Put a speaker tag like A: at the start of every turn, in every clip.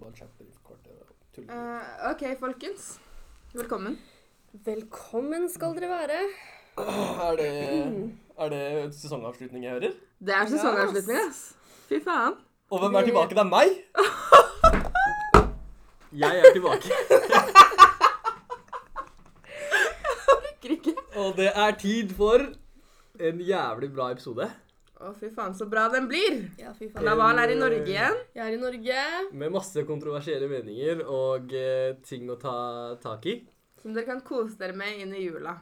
A: kanskje et briefkort. det var tull.
B: Eh, OK, folkens. Velkommen.
C: Velkommen skal dere være.
A: Er det, er det sesongavslutning jeg hører?
B: Det er sesongavslutning, ass. Fy faen.
A: Og hvem er tilbake? Det er meg!
D: Jeg er tilbake,
B: Orker ikke.
D: og det er tid for en jævlig bra episode
B: Å, fy faen, så bra den blir.
C: Ja, fy faen.
B: Laval er i
C: Eh.
B: Norge igjen.
C: Jeg er i Norge.
D: med masse kontroversielle meninger og eh, ting å ta tak i.
B: Som dere kan kose dere med inn i jula.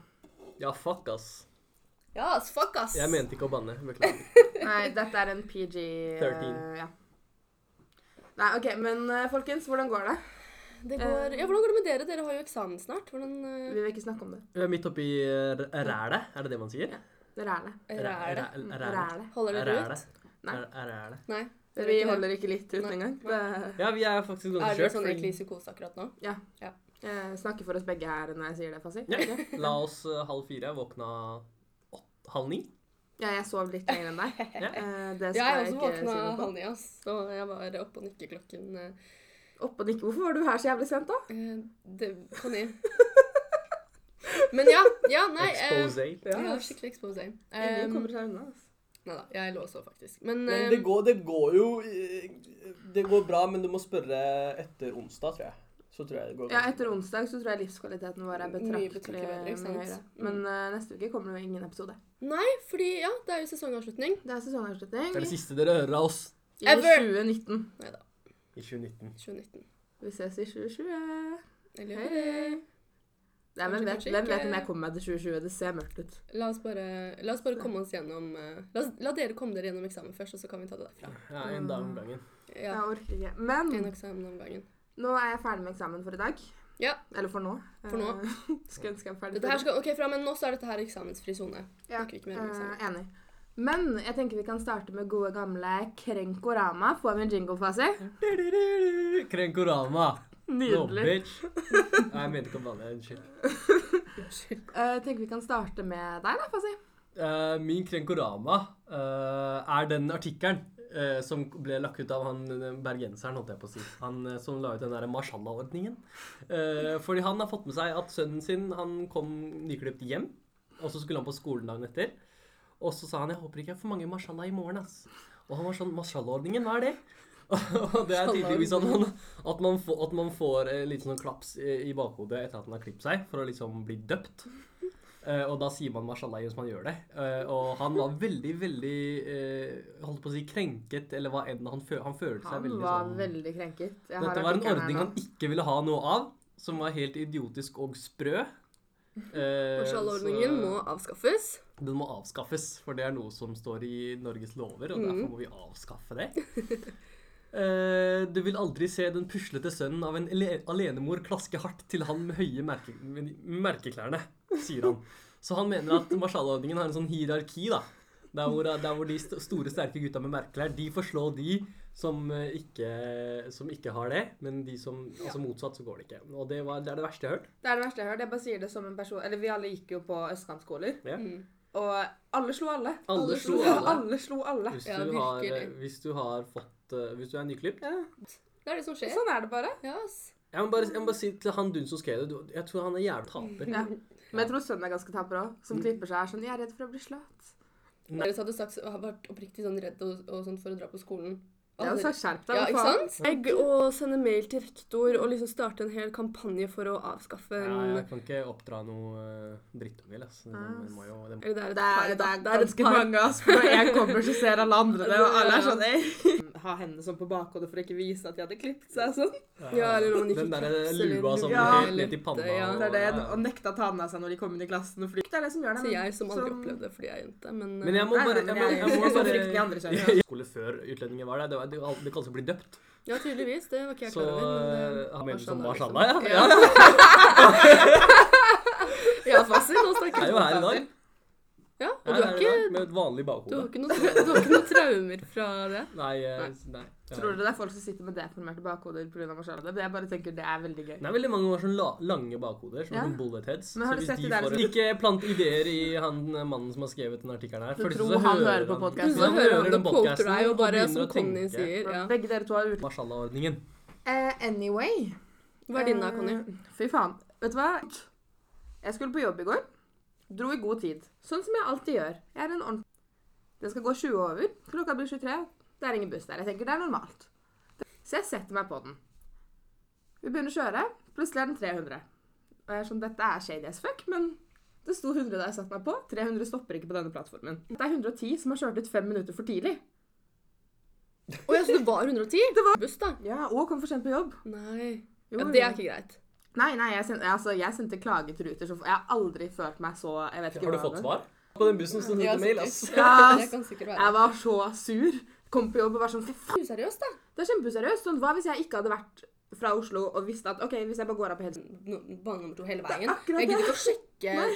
D: Ja, fuck, ass.
C: Ja, ass, fuck, ass.
D: Jeg mente ikke å banne. Beklager.
B: Nei, dette er en PG eh,
D: 13.
B: ja. Nei, OK, men eh, folkens, hvordan går det?
C: Det går... Ja, hvordan går det med dere? Dere har jo eksamen snart. Hvordan
B: Vi
C: eh,
B: vil ikke snakke om det.
D: Vi er midt oppi eh, r- rælet, er det det man sier?
B: Dere er Mm, det.
C: er det?
D: Ræ- ræ-
B: Dere er det.
C: Holder dere
D: Ræle.
C: ut?
B: Nei.
D: Ræ- ræle.
C: Nei. dere
B: Vi
C: ikke det.
B: holder ikke litt ut
C: Nei.
B: engang. Det-
D: Ja, vi er faktisk
C: Er
D: ganske
C: dere
D: kjørt.
C: sånn
D: fordi-
C: egentlig i psykose akkurat nå?
B: Ja.
C: Ja.
B: Eh, Jeg snakker for oss begge her når jeg sier det, Fasi.
D: Ja. La oss eh, halv fire, våkna åt- halv ni.
B: Ja, jeg sov litt lenger enn deg.
D: Ja.
B: Eh, Det skal
C: Jeg er
B: jeg
C: også
B: ikke si
C: våkna
B: noe på.
C: halv ni, ass. Så jeg var oppe og nikke klokken eh,
B: Opp og nikke. Hvorfor var du her så jævlig sent, da?
C: eh, det, på ni. Men ja, ja, nei. eh,
D: Exposé.
C: ja, skikkelig exposé.
B: Ingen
C: Um,
B: kommer seg unna. altså.
C: Nei da, jeg lå og sov faktisk. Men,
D: Men
C: eh,
D: det går, det går jo eh, Det går bra, men du må spørre etter onsdag, tror jeg. Så tror jeg det går
B: Ja, etter onsdag så tror jeg livskvaliteten vår er
C: Mye
B: betraktelig
C: betraktelig bedre,
B: mye
C: ikke sant?
B: høyere. Men eh, neste uke kommer det jo ingen episode.
C: Nei, fordi ja, det er jo sesongavslutning.
B: Det er sesongavslutning
D: Det er det siste dere hører av oss
B: i
C: Ever!
B: 2019.
C: Nei da,
D: i 2019.
C: 2019.
B: Vi ses i 2020.
C: Eller
B: Hei. Nei, hvem
C: Kanskje,
B: vet,
C: kanskje
B: hvem vet
C: ikke.
B: om jeg kommer meg til 2020? Det ser mørkt ut.
C: La oss bare, la oss bare komme oss gjennom eh, la, oss, la dere komme dere gjennom eksamen først, og så kan vi ta det derfra.
D: Ja, en dag
B: Mm.
D: om gangen.
C: Ja,
B: Jeg orker ikke.
C: En
B: Men
C: eksamen om gangen.
B: nå er jeg ferdig med eksamen for i dag.
C: Ja.
B: Eller for nå.
C: For nå.
B: Eh, Skulle ønske jeg var ferdig.
C: Dette
B: for i
C: her skal, ok, fra, men Nå så er dette her eksamensfri sone.
B: Ja,
C: Snakker vi ikke mer om eksamen.
B: Eh, enig. Men jeg tenker vi kan starte med gode gamle Krenkorama. Får vi en jingle-fase?
D: Krenkorama. No
B: Nydelig.
D: bitch. Nei, jeg mente ikke å banne. Unnskyld.
C: Unnskyld.
B: Eh, tenker vi kan starte med deg, da, Fasi.
D: Eh, min Krenkorama eh, er den artikkelen eh, som ble lagt ut av han eh, bergenseren, holdt jeg på å si. Han eh, som la ut den der Marshallah-ordningen. Eh, fordi han har fått med seg at sønnen sin han kom nyklipt hjem, og så skulle han på skolen dagen etter. Og så sa han 'jeg håper ikke jeg får mange Marshallah i morgen', ass. Og han var sånn 'Marshallah-ordningen, hva er det?' Og det er tydeligvis at man, at man, får, at man får eh, litt sånn klaps i, i bakhodet etter at man har klippet seg, for å liksom bli døpt. Eh, og da sier man mashallah hvis man gjør det. Eh, og han var veldig, veldig eh, Holdt på å si krenket, eller hva enn. Han, fø han følte seg
B: Han
D: veldig
B: var
D: sånn
B: veldig krenket. Jeg har
D: Dette var en
B: artikkelen her
D: ordning
B: nå.
D: han ikke ville ha noe av, som var helt idiotisk og sprø. Eh,
C: Marshalordningen må
D: så
C: avskaffes.
D: Den må avskaffes, for det er noe som står i Norges lover, og
C: Mhm.
D: derfor må vi avskaffe det. Eh, du vil aldri se den puslete sønnen av en ele- alenemor klaske hardt til han med høye merke med merkeklærne, sier han. Så han mener at marshalordningen har en sånn hierarki, da. Der hvor, der hvor de st store, sterke gutta med merkeklær, de får slå de som eh, ikke, som ikke har det. Men de som Altså motsatt, så går det ikke. Og det, var, det er det verste jeg har hørt.
B: Det er det verste jeg har hørt. Jeg bare sier det som en person Eller vi alle gikk jo på østkantskoler.
D: Ja.
C: Mm.
B: Og alle slo alle.
D: Alle
C: slo
B: Ja,
D: alle.
B: alle slo alle.
D: Hvis
C: Ja,
D: du har, eh,
C: virkelig.
D: hvis du har fått eh, Hvis du er nyklipt
B: Ja.
C: Det er det som skjer.
B: Sånn er det bare.
C: Ja, ass.
D: Jeg må bare, jeg må bare si til han dun som skrev det, du- jeg tror han er jævlig taper.
B: Ja. Men jeg tror sønnen er ganske tapper òg. Som klipper seg er sånn 'Jeg er redd for å bli slått'.
D: Nei.
C: Dere hadde sagt, har vært oppriktig sånn redd og, og sånt for å dra på skolen.
B: Jeg hadde sagt 'skjerp deg'.
C: Ja,
B: hva
C: ikke
B: faen?
C: sant? Jeg å sende mail til rektor og liksom starte en hel kampanje for å avskaffe en
D: Ja, jeg kan ikke oppdra noe eh, drittunge. Altså. Det, det må jo, det må.
C: Eller det er et
B: Det er,
C: par,
B: det
C: da.
B: er ganske mange, altså. For når jeg kommer, så ser alle andre det, og alle er sånn «Ei». Ha hendene sånn på bakhodet for å ikke vise at de hadde klippet seg og sånn.
C: Ja, eller noen ikke
D: Den derre
C: klaps, eller
D: lua som
C: lua,
D: ja, helt
C: eller
D: ned til panna.
C: det, ja.
D: og-
B: Det er det,
D: ja.
B: Og nekta å ta den av seg når de kom inn i klassen. Fordi det er det som gjør det.
C: Så jeg som aldri opplevde det fordi jeg er jente, men,
D: Men jeg må
B: Nei, nei,
D: bare
B: men
D: jeg må, jeg må
B: det er- det er
D: bare
B: konflikten i andre kjønn, ja.
D: Jeg skole før utlendinger var der. Det, var, det, var- det kalles å bli døpt.
C: Ja, tydeligvis. Det var ikke jeg
D: Så
C: klar over. men, eh,
D: eh, han mener som
C: mashallah,
D: mashallah, ja.
C: liksom.
D: ja.
C: Ja, fasit. Nå
D: Jeg
C: snakker
D: er
C: vi
D: jo her i dag.
C: Ja,
D: Jeg
C: og du
D: er
C: har
D: her i
C: ikke,
D: dag Med et vanlig
C: du har
D: bakhode.
C: ikke, noe, du har ikke noen traumer fra det?
D: Nei, eh, nei.
B: Tror dere det er folk som sitter med deformerte bakhoder pga. marsjalade? Jeg bare tenker det er veldig gøy.
D: Det er veldig mange år sånn la lange bakhoder, som
B: Ja.
D: ja. bullet heads.
B: Men har
D: så
B: du
D: hvis
B: sett
D: de
B: de der
D: får
B: som-
D: Ikke plant ideer i han eh, mannen som har skrevet den artikkelen her.
B: Du
D: Først
B: tror
D: så
B: han hører på
D: han-
B: podcasten.
D: Ja,
C: Så
D: han
C: hører
D: hører
C: han
D: den
C: det quoter
D: podcasten
C: deg, og bare
D: begynner
C: som
D: å
C: Conny
D: tenke.
C: sier. Ja.
B: Begge dere to har utlagt
D: Marshallah-ordningen.
E: Eh, anyway
C: Hva er din da,
E: eh,
C: Conny?
B: Fy faen. Vet du hva? Jeg skulle på jobb i går. Dro i god tid. Sånn som jeg alltid gjør. Jeg er en ordentlig Det skal gå 20 over. Klokka blir 23. Det er ingen buss der. Jeg tenker det er normalt. Så jeg setter meg på den. Vi begynner å kjøre. Plutselig er den 300. Og jeg er sånn Dette er shady as fuck, men det sto 100 da jeg satte meg på. 300 stopper ikke på denne plattformen. Det er 110 som har kjørt ut fem minutter for tidlig.
C: Å ja, så det var 110? Buss, da?
B: Ja, Og kom for sent på jobb.
C: Nei.
B: Jo,
C: Ja,
B: jo.
C: det er ikke greit.
B: Nei, nei, jeg sendte, altså, jeg sendte klage til Ruter. Så jeg har aldri følt meg så jeg vet ikke
D: Har du
B: hvordan
D: fått
B: det-
D: svar? På den bussen som
C: Ja,
D: sendte mail, ass.
C: sikkert.
B: Ja,
C: Det kan sikkert være.
B: Jeg var så sur. Kom på jobb og var sånn Fy faen,
C: Useriøst, da.
B: det er kjempeseriøst. Sånn, hva hvis jeg ikke hadde vært fra Oslo og visste at OK, hvis jeg bare går av på Helse
C: Nå- Bane nummer to hele veien.
B: akkurat
C: Jeg gidder ikke å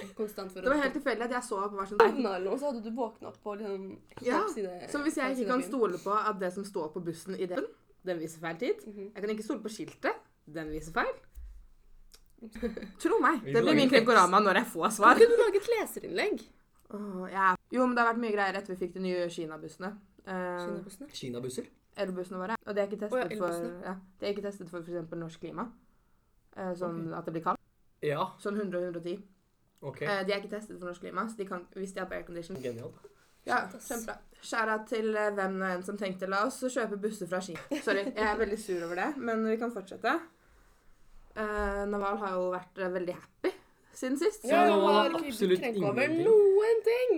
C: sjekke konstant. for
B: Det var
C: å-
B: helt tilfeldig at jeg så opp og var sånn nei.
C: Havna eller noe, så hadde du våkna opp på liksom
B: Ja,
C: helt side-
B: Så hvis jeg ikke
C: helt side
B: kan
C: av byen.
B: stole på at det som står på bussen i den, den viser feil tid
C: Mhm.
B: Jeg kan ikke stole på skiltet. Den viser feil. Tro meg. Det
D: lager
B: blir min
D: tekst.
B: Krenkorama når jeg får
C: Kan
B: svar.
C: ikke du lage et leserinnlegg?
B: Åh, jeg er- Jo, men det har vært mye greier etter vi fikk de nye Kina-bussene. Eh,
C: Kinabussene.
D: Kinabusser.
B: elbussene våre. Og de er ikke testet
C: Å ja,
B: for
C: elbussene.
B: ja, De er ikke testet for f.eks. norsk klima. Eh, Sånn at det blir kaldt.
D: Ja,
B: Sånn 100 og 110.
D: OK.
B: Eh, De er ikke testet for norsk klima, så de kan, hvis de er på aircondition
D: Genial.
B: Ja,
C: Shit, ass.
B: kjempebra. Skjæra til eh, hvem nå enn som tenkte la oss kjøpe busser fra Ski. Sorry, jeg er veldig sur over det, men vi kan fortsette. Eh, Naval har jo vært eh, veldig happy siden sist.
D: Ja, det
C: jeg
D: var
C: har ikke
D: absolutt
C: krenka over
D: ingenting.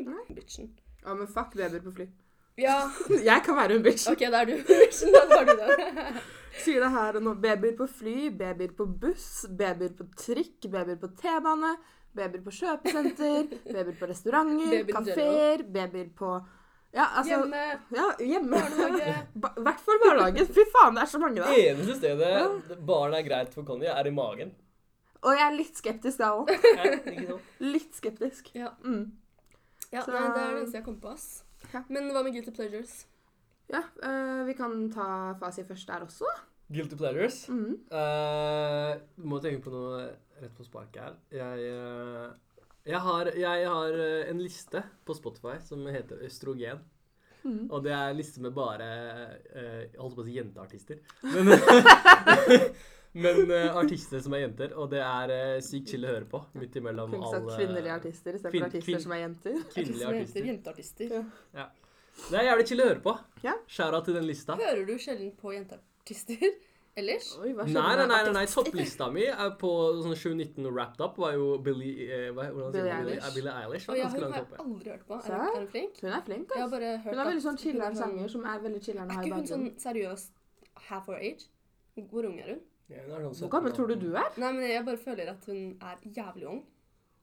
C: noen ting! Bitchen.
B: Ja, men fuck Weber på fly.
C: Ja,
B: Jeg kan være en bitch.
C: OK, da er du bitchen. Da tar du det.
B: Sier det her og nå. Babyer på fly, babyer på buss, babyer på trikk, babyer på T-bane, babyer på kjøpesenter, babyer på restauranter,
C: Babyer
B: kafeer, babyer på Ja, altså
C: Hjemme,
B: Ja, hjemme.
C: barnehage
B: Ba- I hvert fall barnehagen. Fy faen, det er så mange der.
D: Eneste stedet barn er greit for Conny, er i magen.
B: Og jeg er litt skeptisk da òg.
D: Ja, ikke sant?
B: Litt skeptisk.
C: Ja.
B: Mm.
C: Ja,
B: Så-
C: nei, det er det eneste jeg kom på, ass.
B: Ja.
C: Men hva med guilty pleasures?
B: Ja, øh, vi kan ta fasit først der også.
D: Guilty pleasures.
B: Mm.
D: Eh, må tenke på noe rett på sparket her. Jeg, eh, jeg, har, jeg har eh, en liste på Spotify som heter Østrogen.
B: Mhm.
D: Og det er en liste med bare eh, Jeg holdt på å si jenteartister. Men, men eh, artister som er jenter. Og det er eh, sykt chill å høre på. Midt imellom
B: Kunne
D: alle
B: sagt kvinnelige artister istedenfor
D: kvinn-
B: artister
D: kvinn-
B: som er jenter.
D: kvinnelige artister.
C: Jenteartister.
B: Ja.
D: Det er jævlig chill å høre på.
B: Ja.
D: Skjæra til den lista.
C: Hører du sjelden på jenteartister ellers?
B: Oi, hva
D: Nei,
B: skjedde
D: nei,
B: med
D: nei, nei, nei, topplista mi er på sånn 7-19 og wrapped up var jo Billie, eh, hva, hvordan sier
B: Billie
D: man Billie,
B: Eilish.
D: eh, Billie Eilish.
C: Og
D: var
C: jeg
D: ganske
C: har,
D: langt
C: har
D: oppe.
C: aldri hørt på. Er,
B: Sær?
C: hun- er hun flink?
B: Hun er flink,
C: Jeg har
B: altså.
C: bare hørt
B: Hun er
C: at-
B: veldig sånn
C: hun er
B: chiller'n
C: sånn-
B: sanger som er veldig chiller'n å
C: Er
B: ha i
C: ikke hun
B: bakgrunnen.
C: sånn seriøst half our age? Hvor ung er hun?
D: Ja, hun er sånn
B: Hvor gammel
D: 17,
B: tror du du er?
C: Nei, men jeg bare føler at hun er jævlig ung.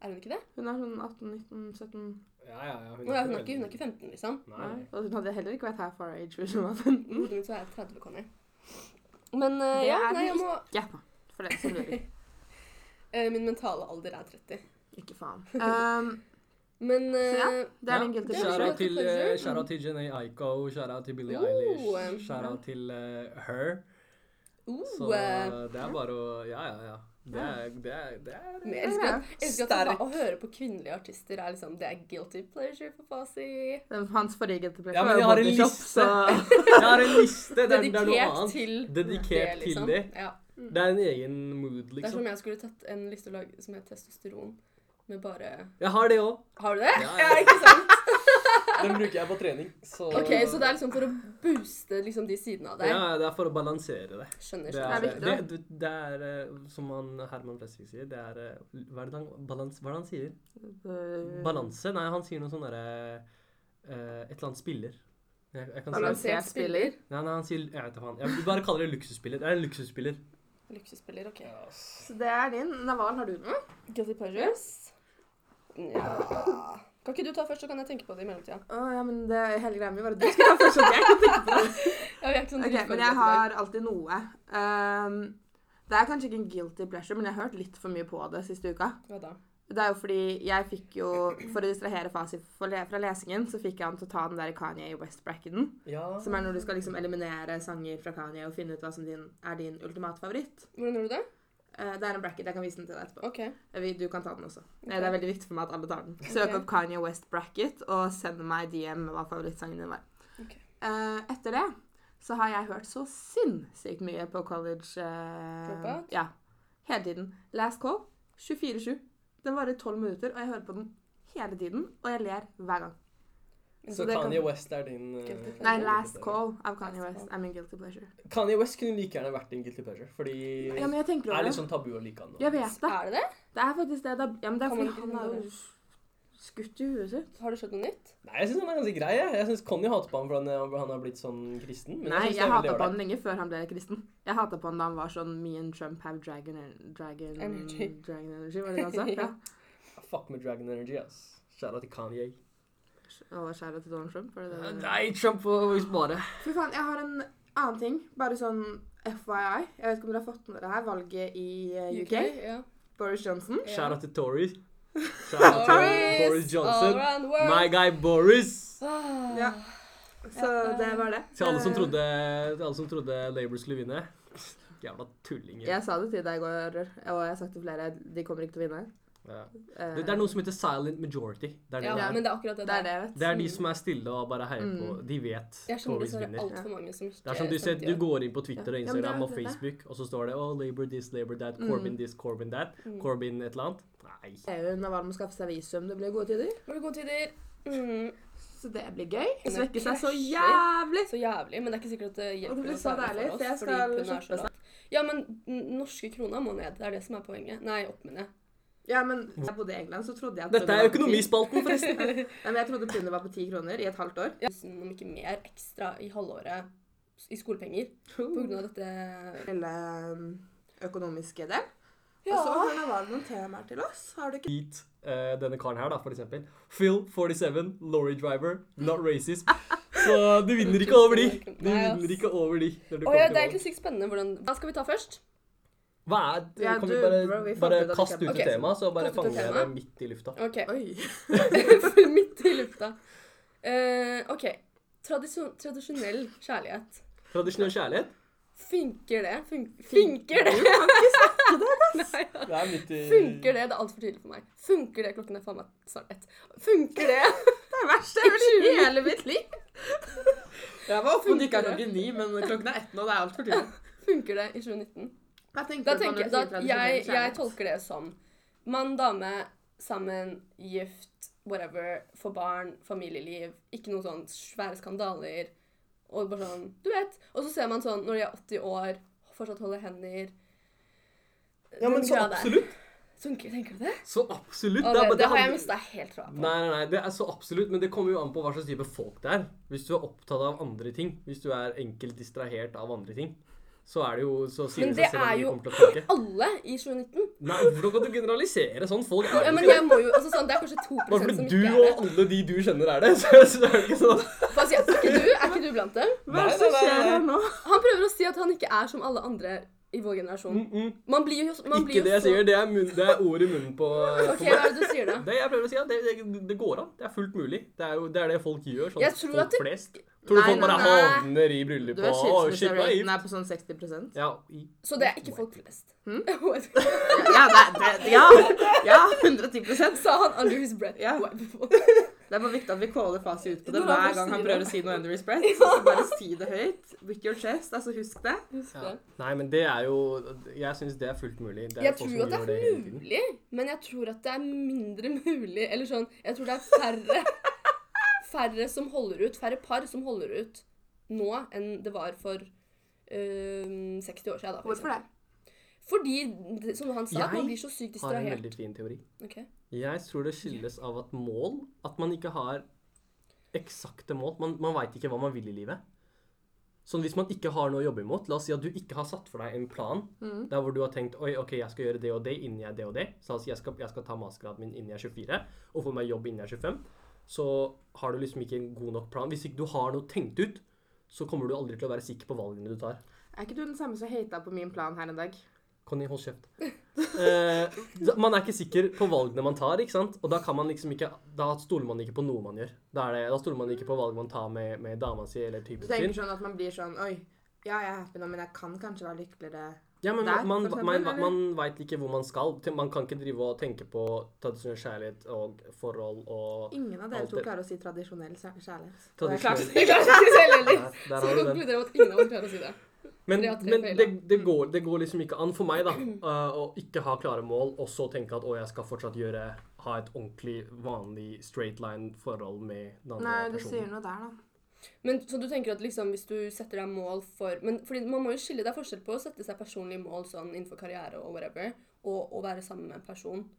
C: Er hun ikke det?
B: Hun er sånn 18-19-17
D: Ja, ja, ja,
C: Hun er, hun er, ikke, hun er ikke 15, liksom.
D: Nei. nei.
B: Og hun hadde heller ikke vært half our age hvis hun var 15.
C: I hodet mitt så er jeg 30, Conny. Men eh,
B: Mm. Det
C: ja,
B: er hun
C: nei, jeg må
B: Ja, for det som lurer.
C: eh, Min mentale alder er 30.
B: Ikke faen. Um,
C: Men eh,
B: ja, det er
D: Ja,
B: din guilty
C: det er
D: Shout
B: pleasure.
C: bra.
D: out til, eh,
C: pleasure.
D: shout out til Jenny Aiko, shout out til Billie
C: Oh,
D: Eilish,
C: eh,
D: shout out til eh, Her.
C: oh,
D: Så
C: eh,
D: det er bare å Ja, ja, ja. Det er, det er, det er
C: men jeg elsker,
B: Ja.
C: at, jeg elsker at å høre på kvinnelige artister er liksom Det er guilty pleasure for Fasi.
B: Den- Hans forrige guilty pleasure
D: Ja, men
B: var jo
D: jeg har en
B: Body Shop,
D: liste.
B: så
D: Jeg har en liste! Det er, det er noe
C: Dedikert
D: annet.
C: til
D: Dedikert
C: det, liksom.
D: til det.
C: Ja.
D: Det er en egen mood,
C: Det er
D: liksom.
C: som om jeg skulle tatt en listelag som het testosteron, med bare
D: Jeg har det òg.
C: Har du det?
D: Ja,
C: Ja,
D: ja.
C: ikke sant?
A: Den bruker jeg på trening. Så
C: Ok, Så det er liksom for å booste liksom de sidene av deg?
D: Ja, det er for å balansere det.
C: Skjønner.
D: Det
C: skjønner.
D: er,
B: Det
D: det,
B: er viktig,
D: det, det er eh, som han Herman Flesvig sier, det er eh, Hva er det han, balans, hva er det han sier?
B: Eh.
D: Balanse? Nei, han sier noe sånn derre eh, Et eller annet spiller. Jeg, jeg kan si
B: Balans-
D: nei,
C: Balansert spiller.
D: nei, han sier Jeg vet da faen. Jeg vil bare kaller det luksusspiller. Det er en luksusspiller.
C: Luksusspiller, OK.
B: Så det er din. Naval, har du noe?
C: Guilty pleasures? Nja Kan ikke du ta først, så kan jeg tenke på det i mellomtida?
B: Å ja, men det hele greia mi var at du skulle ta først. sånn at Jeg kan tenke på det.
C: Ja, vi er ikke sånn
B: Ok,
C: dritforberedt
B: men
C: i dag.
B: jeg har alltid noe. Um, det er kanskje ikke en guilty pleasure, men jeg har hørt litt for mye på det siste uka.
C: Hva da?
B: Det er jo fordi jeg fikk jo, for å distrahere Fasi for le- fra lesingen, så fikk jeg han til å ta den der Kanye West-bracketen.
D: Ja.
B: Som er når du skal liksom eliminere sanger fra Kanye og finne ut hva som din, er din ultimate favoritt.
C: Hvordan gjør du det?
B: Eh, det er en bracket. Jeg kan vise den til deg etterpå.
C: OK.
B: Jeg vil- Du kan ta den også. Eh,
C: Ok.
B: Det er veldig viktig for meg at alle tar den. Søk
C: Ok.
B: opp Kanye West bracket og send meg DM med hva favorittsangen din var.
C: Ok.
B: Eh, etter det så har jeg hørt så sinnssykt mye på college eh,
C: Dropout?
B: Ja. Hele tiden. Last call 24-7. Den varer 12 minutter, og jeg hører på den hele tiden. Og jeg ler hver gang.
D: Så
B: det kan-
D: Kanye West er din eh,
C: Guilty pleasure.
B: Nei, Last Call av Kanye
C: Last
B: West er min guilty pleasure.
D: Kanye West kunne like gjerne vært din guilty pleasure, fordi
B: Ja, men jeg tenker
D: det er
B: over
D: litt
B: det.
D: sånn tabu å like han. nå.
B: Jeg vet det.
C: Er det det?
B: Det er faktisk det. det er, ja, men det er
C: Kommer
B: fordi
C: ikke
B: han
C: til å
B: er
C: gjøre
B: jo skutt i huet sitt.
C: Har du skjønt noe nytt?
D: Nei, jeg syns han er ganske grei. Jeg, jeg syns Conny hater på ham for han, er- han har blitt sånn kristen. Men
B: Nei,
D: jeg, synes det er
B: jeg
D: veldig
B: hata på
D: ålreit.
B: han lenge før han ble kristen. Jeg hata på han da han var sånn Me and Trump have dragon en- Dragon
C: Energy.
B: Dragon energy var det det han sa? Ja.
D: Fuck med Dragon Energy, ass. Kjære til Kanye.
B: Og skjæra til Donald Trump? Var det det?
D: Nei, Trump får spare.
B: Fy faen, jeg har en annen ting. Bare sånn FYI. Jeg vet ikke om dere har fått med dere her valget i eh, UK.
C: Ja.
B: Boris Johnson.
C: Ja.
D: Kjære til Tory. Kjære til Boris
C: All
D: Johnson.
C: around the world.
D: My guy Boris.
C: Ah.
B: Ja. Så det var det.
D: Til alle som
B: Eh,
D: trodde, til alle som trodde Labour skulle vinne. Jævla tullinger.
B: Eh, Jeg sa det til deg i går, og jeg har sagt til flere de kommer ikke til å vinne.
D: Ja.
B: Eh,
D: Det, det er noe som heter silent majority. Det er, det,
C: Ja,
D: det,
C: men det er akkurat det
B: det er
C: der.
B: det, jeg vet.
D: er. det er de som er stille og bare heier
B: Mm.
D: på. De vet
C: Jeg skjønner
D: Tories
C: dessverre
D: vinner.
C: altfor mange som ikke
D: Det er som du ser,
C: stemte
D: du
C: sånn, ja.
D: går inn på Twitter og
B: Ja, men det er
D: Instagram og
B: akkurat det.
D: Facebook, og så står det oh, Labour this, Labour that,
B: Mm.
D: Corbyn this, Corbyn that,
C: Mm.
D: Corbyn et eller annet. Nei.
B: EU var med å skaffe seg visum. Det blir gode tider.
C: Men det er gode tider. Mm.
B: Så det blir gøy.
C: Men det
B: Svekke seg så
C: krasjer.
B: jævlig.
C: Så jævlig, men det er ikke sikkert at det
B: Og det
C: hjelper
B: blir
C: noe
B: så
C: særlig
B: deilig,
C: for
B: for jeg
C: oss. Fordi
B: skal
C: pundet er
B: shoppe
C: så lavt. Ja, men n- norske kroner må ned. Det er det som er poenget. Nei, opp med det.
B: Ja, men da jeg bodde i England, så trodde jeg at pundet
D: Dette er
B: var på ti-
D: økonomispalten, forresten.
B: Nei, men jeg trodde pundet var på ti kroner i et halvt år.
C: Tusen, om ikke mer, ekstra i halvåret s- i skolepenger
B: Oh.
C: på grunn av dette.
B: Lille um, økonomiske del.
C: Ja.
B: Og så Hannah, var det noen temaer til oss. Har du ikke
D: Hit eh, denne karen her, da, for eksempel. Phil, 47, lorry driver, not racist. Så du vinner ikke over de. Du
C: Nei, ass.
D: vinner ikke over de. når du
C: Å
D: kommer
C: ja,
D: til
C: det er
D: valg.
C: egentlig sykt spennende hvordan Hva skal vi ta først?
D: Hva er
B: Ja,
D: Kan vi
B: du,
D: bare,
B: bro, vi fant
D: bare
B: ut at vi
D: kaste
B: kan-
D: ut et
C: Ok.
D: tema, så bare
C: Kaste ut et
D: fanger jeg
C: tema.
D: det midt i lufta?
C: OK.
B: Oi!
C: Midt i lufta. Eh, OK. Tradisjon, tradisjonell kjærlighet.
D: Tradisjonell kjærlighet?
C: Funker det? Fun funker det? Nei, ja.
D: Det er midt i
C: Funker det? Det er altfor tidlig for meg. Funker det? Klokken er faen meg snart ett. Funker det?
B: Det er verst jeg har hørt i hele mitt liv. Jeg var oppe
C: og nikka klokken
B: ni, men klokken er ett nå. Det er altfor tidlig.
C: Funker det i 2019?
B: Hva
C: Da
B: tenker du på
C: tenker
B: når du
C: jeg, da,
B: sier tradisjonell
C: jeg, jeg
B: kjærlighet?
C: tolker det som mann, dame, sammen, gift, whatever, får barn, familieliv, ikke noen sånn svære skandaler, og bare sånn, du vet. Og så ser man sånn, når de er 80 år, fortsatt holder hender.
D: Ja, men
C: Den
D: så
C: greia der.
D: absolutt.
C: Funker, tenker du det?
D: Så absolutt.
C: Å,
D: er
C: det,
D: bare-
C: det har jeg
D: handler-
C: mista helt troa på.
D: Nei, nei, nei, det er så absolutt, men det kommer jo an på hva slags type folk det er. Hvis du er opptatt av andre ting, hvis du er enkelt distrahert av andre ting, så er det jo så sier
C: Men
D: det
C: det
D: seg selv
C: er
D: om de
C: jo
D: kommer til å funke.
C: alle i 2019.
D: Nei, hvordan kan du generalisere sånn? Folk er
C: Ja,
D: jo
C: men
D: ikke det.
C: jeg må jo, altså sånn, Det er kanskje 2
D: Bare
C: som
D: fordi
C: ikke
D: du
C: er det.
D: og alle de du kjenner er det, så så er det ikke sånn.
C: Hva sier jeg? Er ikke du? Er ikke du blant dem?
B: Hva er det som
D: Nei, nei, nei,
B: skjer her nå?
C: Han prøver å si at han ikke er som alle andre i vår generasjon.
D: Mm -mm.
C: Man blir jo man blir
D: Ikke det
C: jo
D: jeg sier, det er, munn, det er ord i munnen på,
C: OK,
D: på
C: hva er det du sier da?
D: Det jeg prøver å si, er at det, det, det går an. Det er fullt mulig. Det er jo det, er det folk gjør. Sånn,
C: Jeg tror
D: folk
C: at det-
D: flest. Tror du
B: Nei,
D: folk bare
B: nei, nei.
D: havner i
B: Du
D: bryllup
B: er
D: og «Å, shit, hva er
B: skilsmisseraten
D: gift?»
B: er på sånn 60
D: Ja, i-
C: Så det er ikke folk flest.
B: Hmm?
C: White-
B: Ja, det, er- det, ja, ja 110
C: Sa han under his breath.
B: Ja.
C: White people.
B: Det er bare viktig at vi caller fast ut på det
C: Når han
B: hver
C: bare
B: gang han
C: sier
B: prøver å
C: det.
B: si noe under his breath. Så bare si det høyt. With your chest. Altså, husk det.
C: Husk
D: ja.
C: det.
D: Nei, men det er jo Jeg syns det er fullt mulig. Det er
C: Jeg
D: folk
C: tror
D: som
C: at det
D: gjør
C: er
D: hele tiden.
C: mulig, men jeg tror at det er mindre mulig. Eller sånn Jeg tror det er færre Færre som holder ut, færre par som holder ut nå enn det var for øhm, 60 år siden. Da, for eksempel. Fordi, det- som han sa, at man
D: Jeg
C: blir så sykt
D: Har en
C: distrahert.
D: veldig fin teori.
C: Ok.
D: Jeg tror det skyldes av at mål At man ikke har eksakte mål. Man, man veit ikke hva man vil i livet. Sånn Hvis man ikke har noe å jobbe imot La oss si at du ikke har satt for deg en plan
B: Mhm.
D: der hvor du har tenkt Oi, ok, jeg skal gjøre det og det innen jeg er det og det. Så la oss si jeg skal, jeg skal ta mastergraden min innen jeg er 24 og få meg jobb innen jeg er 25. Så har du liksom ikke en god nok plan. Hvis ikke du har noe tenkt ut, så kommer du aldri til å være sikker på valgene du tar.
B: Er ikke du den samme som hata på min plan her en dag?
D: Conny, hold kjeft. Eh, da- man er ikke sikker på valgene man tar, ikke sant? Og da kan man liksom ikke Da stoler man ikke på noe man gjør. Da, er det, da stoler man ikke på valg man tar med, med dama si eller
B: Du
D: typen
B: tenker
D: sin.
B: sånn at man blir sånn Oi, ja, jeg er happy nå, men jeg kan kanskje være lykkeligere.
D: Ja, men
B: Der,
D: man,
B: for
D: man,
B: eksempel,
D: man,
B: eller?
D: man veit ikke hvor man skal. Man kan ikke drive og tenke på tradisjonell kjærlighet og forhold og
B: Ingen av dere
D: Alt
B: to
D: det-
B: klarer å si tradisjonell kjær- kjærlighet. Det er klart.
D: Tradisjonell-
C: Jeg klarer ikke selv heller.
D: Der,
C: Så
D: der
C: vi
D: har du den.
C: konkluderer med at ingen av oss klarer å si det.
D: Men,
C: Tre av tre
D: men
C: feiler.
D: det, det,
B: Mm.
D: går, det går liksom ikke an for meg, da, eh, å ikke ha klare mål, og så tenke at å, jeg skal fortsatt gjøre ha et ordentlig, vanlig straight line-forhold med den andre
B: Nei, du sier
D: personen.
B: noe der, da.
C: Men så du tenker at liksom hvis du setter deg mål for men fordi Man må jo skille det er forskjell på å sette seg personlige mål sånn innenfor karriere og whatever, og å være sammen med en person.